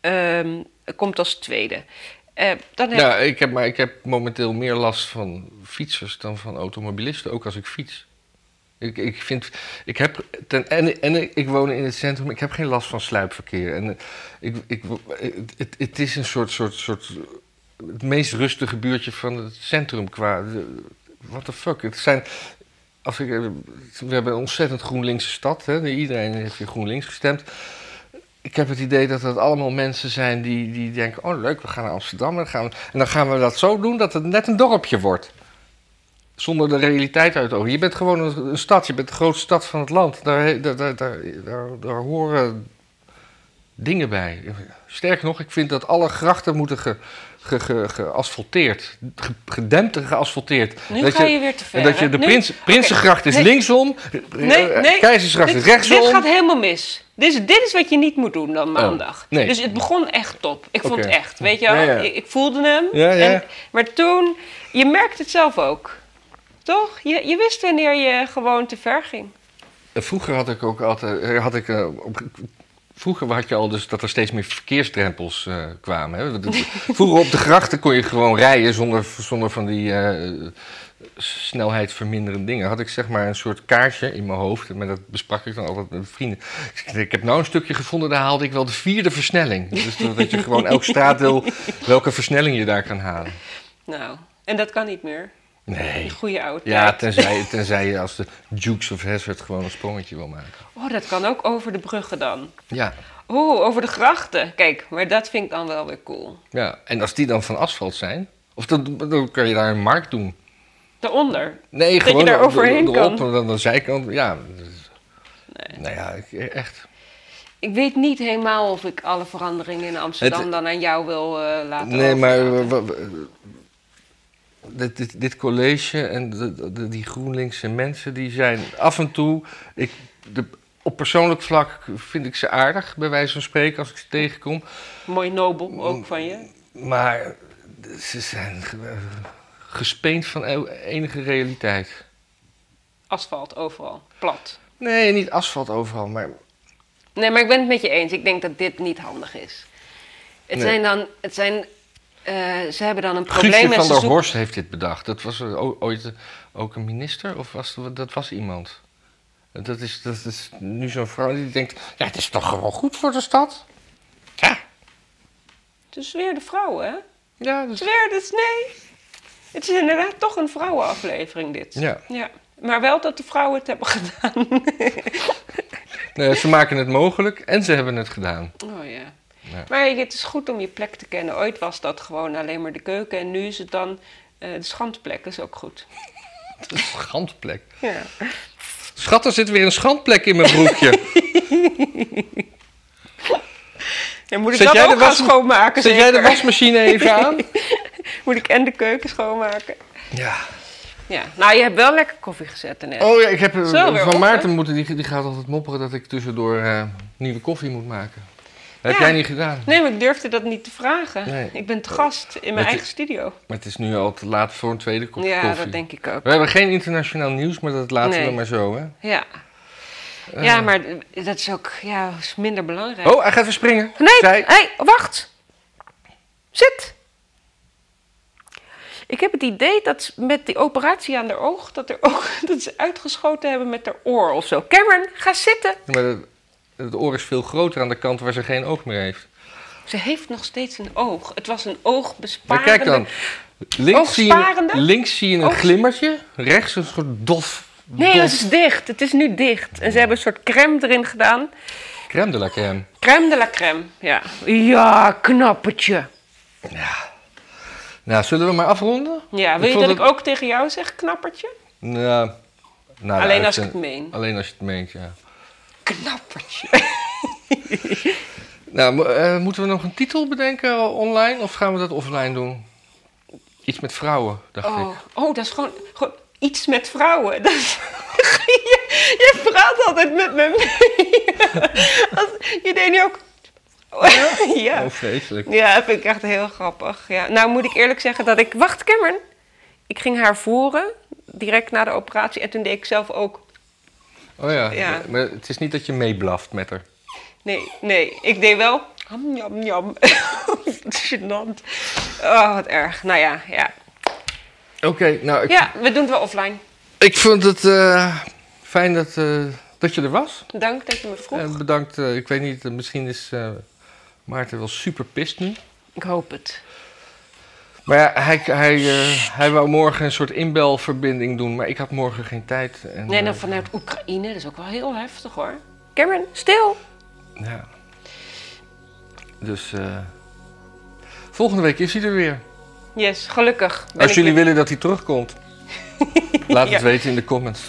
[SPEAKER 2] ehm, komt als tweede. Eh, dan heb
[SPEAKER 1] Ja, Nou, ik heb, maar ik heb momenteel meer last van fietsers dan van automobilisten, ook als ik fiets. Ik, ik vind, ik heb, ten, en, en ik woon in het centrum, ik heb geen last van sluipverkeer. En eh, ik, ik, het- het, het is een soort, soort, soort, het meest rustige buurtje van het centrum qua, what the fuck. Het zijn, als ik, eh, we hebben een ontzettend GroenLinkse stad, hè? iedereen heeft hier GroenLinks gestemd. Ik heb het idee dat dat allemaal mensen zijn die, die denken: oh leuk, we gaan naar Amsterdam. En dan gaan, we, en dan gaan we dat zo doen dat het net een dorpje wordt. Zonder de realiteit uit het oog. Je bent gewoon een, een stad, je bent de grootste stad van het land. Daar, he- daar, daar, daar, daar, daar horen dingen bij. Sterker nog, ik vind dat alle grachten moeten ge, ge, ge- geasfalteerd, ge- gedempt en geasfalteerd.
[SPEAKER 2] Nu
[SPEAKER 1] dat
[SPEAKER 2] ga je weer te ver,
[SPEAKER 1] En dat je de
[SPEAKER 2] hè? Nu-
[SPEAKER 1] prins, Prinsengracht is
[SPEAKER 2] nee.
[SPEAKER 1] linksom,
[SPEAKER 2] Nee,
[SPEAKER 1] eh,
[SPEAKER 2] nee.
[SPEAKER 1] Keizersgracht
[SPEAKER 2] dit,
[SPEAKER 1] is rechtsom. Oh,
[SPEAKER 2] Dit gaat helemaal mis. Dit is, dit is wat je niet moet doen dan maandag.
[SPEAKER 1] nee.
[SPEAKER 2] Dus het begon echt top. Ik vond het
[SPEAKER 1] Oké.
[SPEAKER 2] echt. Weet je
[SPEAKER 1] Ja, ja.
[SPEAKER 2] wel? Ik, ik voelde hem.
[SPEAKER 1] Ja, ja.
[SPEAKER 2] En, maar toen, je merkt het zelf ook. Toch? Je, je wist wanneer je gewoon te ver ging.
[SPEAKER 1] Vroeger had ik ook altijd. eh, Had ik, eh, op- vroeger had je al dus dat er steeds meer verkeersdrempels eh, kwamen. Hè? Dat- Vroeger op de grachten kon je gewoon rijden zonder, zonder van die snelheid snelheidsverminderende dingen. Had ik zeg maar een soort kaartje in mijn hoofd. Maar dat besprak ik dan altijd met vrienden. Ik zei, Ik heb nou een stukje gevonden, daar haalde ik wel de vierde versnelling. Dus dat dat je gewoon elk straatdeel, welke versnelling je daar kan halen.
[SPEAKER 2] Nou, en dat kan niet meer.
[SPEAKER 1] Nee.
[SPEAKER 2] Die goede oude
[SPEAKER 1] Ja,
[SPEAKER 2] tijd.
[SPEAKER 1] tenzij, tenzij je als de Dukes of Hazzard gewoon een sprongetje wil maken.
[SPEAKER 2] Oh, dat kan ook over de bruggen dan.
[SPEAKER 1] Ja,
[SPEAKER 2] Oeh, over de grachten. Kijk, maar dat vind ik dan wel weer cool.
[SPEAKER 1] Ja, en als die dan van asfalt zijn, of dan, dan kan je daar een markt doen.
[SPEAKER 2] Daaronder.
[SPEAKER 1] Nee,
[SPEAKER 2] Dat je
[SPEAKER 1] gewoon
[SPEAKER 2] daar
[SPEAKER 1] op de-
[SPEAKER 2] overheen
[SPEAKER 1] erop
[SPEAKER 2] kan.
[SPEAKER 1] en dan de zijkant. Ja, nee. nou ja, ik- echt.
[SPEAKER 2] Ik weet niet helemaal of ik alle veranderingen in Amsterdam
[SPEAKER 1] Het-
[SPEAKER 2] dan aan jou wil eh, laten
[SPEAKER 1] Nee, maar
[SPEAKER 2] overlaten.
[SPEAKER 1] wa- wa- dit, dit, dit college en de- de- die GroenLinkse mensen, die zijn af en toe. Ik, de, op persoonlijk vlak vind ik ze aardig, bij wijze van spreken, als ik ze tegenkom.
[SPEAKER 2] Mooi nobel ook van je.
[SPEAKER 1] Maar ze zijn ge- gespeend van e- enige realiteit.
[SPEAKER 2] Asfalt overal, plat.
[SPEAKER 1] Nee, niet asfalt overal, maar
[SPEAKER 2] Nee, maar ik ben het met je eens. Ik denk dat dit niet handig is. Het
[SPEAKER 1] Nee.
[SPEAKER 2] zijn dan, het zijn, eh, ze hebben dan een probleem
[SPEAKER 1] Guusje
[SPEAKER 2] en
[SPEAKER 1] van
[SPEAKER 2] ze
[SPEAKER 1] der
[SPEAKER 2] zoeken...
[SPEAKER 1] Horst heeft dit bedacht. Dat was er o- ooit ook een minister of was dat- dat was iemand? Dat is, dat is nu zo'n vrouw die denkt, ja, het is toch gewoon goed voor de stad? Ja.
[SPEAKER 2] Het is weer de vrouwen, hè?
[SPEAKER 1] Ja, dat
[SPEAKER 2] Het
[SPEAKER 1] is-
[SPEAKER 2] is weer, dus nee. Het is inderdaad toch een vrouwenaflevering, dit.
[SPEAKER 1] Ja.
[SPEAKER 2] ja. Maar wel dat de vrouwen het hebben gedaan.
[SPEAKER 1] nee, ze maken het mogelijk en ze hebben het gedaan.
[SPEAKER 2] Oh ja.
[SPEAKER 1] Ja.
[SPEAKER 2] Maar het is goed om je plek te kennen. Ooit was dat gewoon alleen maar de keuken en nu is het dan eh, de schandplek. Dat is ook goed.
[SPEAKER 1] Dat is een schandplek.
[SPEAKER 2] Ja.
[SPEAKER 1] Schat, er zit weer een schandplek in mijn broekje.
[SPEAKER 2] En moet ik
[SPEAKER 1] Zet
[SPEAKER 2] dat
[SPEAKER 1] jij
[SPEAKER 2] ook
[SPEAKER 1] de
[SPEAKER 2] gaan
[SPEAKER 1] was-
[SPEAKER 2] schoonmaken?
[SPEAKER 1] Zet jij de
[SPEAKER 2] zeker?
[SPEAKER 1] wasmachine even aan?
[SPEAKER 2] Moet ik en de keuken schoonmaken?
[SPEAKER 1] Ja.
[SPEAKER 2] Ja, nou je hebt wel lekker koffie gezet net.
[SPEAKER 1] Oh ja, ik heb eh,
[SPEAKER 2] Zo, weer
[SPEAKER 1] van
[SPEAKER 2] op,
[SPEAKER 1] Maarten moeten, die, die gaat altijd mopperen dat ik tussendoor eh, nieuwe koffie moet maken. Dat heb
[SPEAKER 2] Ja.
[SPEAKER 1] jij niet gedaan.
[SPEAKER 2] Nee, maar ik durfde dat niet te vragen.
[SPEAKER 1] Nee.
[SPEAKER 2] Ik ben te gast in mijn
[SPEAKER 1] je-
[SPEAKER 2] eigen studio.
[SPEAKER 1] Maar het is nu al te laat voor een tweede kop
[SPEAKER 2] ja,
[SPEAKER 1] koffie.
[SPEAKER 2] dat denk ik ook.
[SPEAKER 1] We hebben geen internationaal nieuws, maar dat laten
[SPEAKER 2] Nee.
[SPEAKER 1] we dan maar zo, hè?
[SPEAKER 2] Ja.
[SPEAKER 1] Eh.
[SPEAKER 2] ja, maar dat is ook ja, is minder belangrijk.
[SPEAKER 1] Oh, hij gaat weer springen.
[SPEAKER 2] Nee,
[SPEAKER 1] Zij-
[SPEAKER 2] hey, wacht. Zit. Ik heb het idee dat met die operatie aan haar oog... dat, er ook, dat ze uitgeschoten hebben met haar oor of zo. Karen, ga zitten.
[SPEAKER 1] Maar het, het oor is veel groter aan de kant waar ze geen oog meer heeft.
[SPEAKER 2] Ze heeft nog steeds een oog. Het was een oogbesparende...
[SPEAKER 1] Maar kijk dan.
[SPEAKER 2] Oh,
[SPEAKER 1] Links zie, je,
[SPEAKER 2] Oogsparende?
[SPEAKER 1] links zie je een
[SPEAKER 2] Oogs-
[SPEAKER 1] glimmertje. Rechts een soort dof,
[SPEAKER 2] Oh, Nee,
[SPEAKER 1] dof
[SPEAKER 2] het is dicht. Het is nu dicht. En ze hebben een soort crème erin gedaan.
[SPEAKER 1] crème de la crème.
[SPEAKER 2] Crème de la crème, ja. Ja, knappertje.
[SPEAKER 1] Nou, zullen we maar afronden?
[SPEAKER 2] Ja, wil je
[SPEAKER 1] vond
[SPEAKER 2] dat ik
[SPEAKER 1] het-
[SPEAKER 2] ook tegen jou zeg, knappertje?
[SPEAKER 1] Nou, na de
[SPEAKER 2] Alleen als ik
[SPEAKER 1] uitzend-
[SPEAKER 2] het meen.
[SPEAKER 1] Alleen als je het meent, ja.
[SPEAKER 2] Knappertje.
[SPEAKER 1] Nou, mo- eh, moeten we nog een titel bedenken eh, online of gaan we dat offline doen? Iets met vrouwen, dacht ik.
[SPEAKER 2] Oh, oh dat is gewoon, gewoon iets met vrouwen. Dat is- je, je praat altijd met me mee. Als- je deed nu ook... ja.
[SPEAKER 1] Oh, vreselijk.
[SPEAKER 2] Ja, dat vind ik echt heel grappig. Ja. Nou moet ik eerlijk zeggen dat ik... Wacht, Cameron. Ik ging haar voeren, direct na de operatie. En toen deed ik zelf ook...
[SPEAKER 1] Oh ja.
[SPEAKER 2] Ja.
[SPEAKER 1] maar het is niet dat je meeblaft met haar.
[SPEAKER 2] Nee, nee. Ik deed wel... Ham, jam, jam. Gênant. Oh, wat erg. Nou ja, ja.
[SPEAKER 1] Oké, nou, ik,
[SPEAKER 2] Ja, we doen het wel offline.
[SPEAKER 1] ik vond het eh, fijn dat, eh, dat je er was.
[SPEAKER 2] Dank dat je me vroeg.
[SPEAKER 1] En bedankt, eh, ik weet niet, eh, misschien is eh, Maarten wel super pist nu.
[SPEAKER 2] Ik hoop het.
[SPEAKER 1] Maar ja, hij, hij, eh, hij wou morgen een soort inbelverbinding doen, maar ik had morgen geen tijd. En,
[SPEAKER 2] Nee, dan
[SPEAKER 1] eh,
[SPEAKER 2] vanuit Oekraïne. Dat is ook wel heel heftig, hoor. Cameron, stil.
[SPEAKER 1] Ja. Dus eh, volgende week is hij er weer.
[SPEAKER 2] Yes, gelukkig. ben
[SPEAKER 1] Als
[SPEAKER 2] ik
[SPEAKER 1] jullie
[SPEAKER 2] weer-
[SPEAKER 1] willen dat hij terugkomt, laat het
[SPEAKER 2] Ja.
[SPEAKER 1] weten in de comments.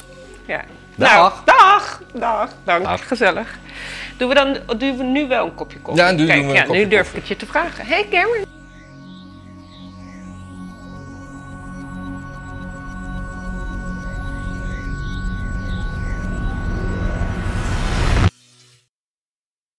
[SPEAKER 2] Ja.
[SPEAKER 1] Dag.
[SPEAKER 2] Nou, dag. Dag. Dank.
[SPEAKER 1] Dag.
[SPEAKER 2] Gezellig. Doen we dan doen we nu wel een kopje koffie?
[SPEAKER 1] Ja, nu doen
[SPEAKER 2] Kijk,
[SPEAKER 1] we een
[SPEAKER 2] ja,
[SPEAKER 1] kopje
[SPEAKER 2] nu durf ik het je te vragen. Hey Cameron.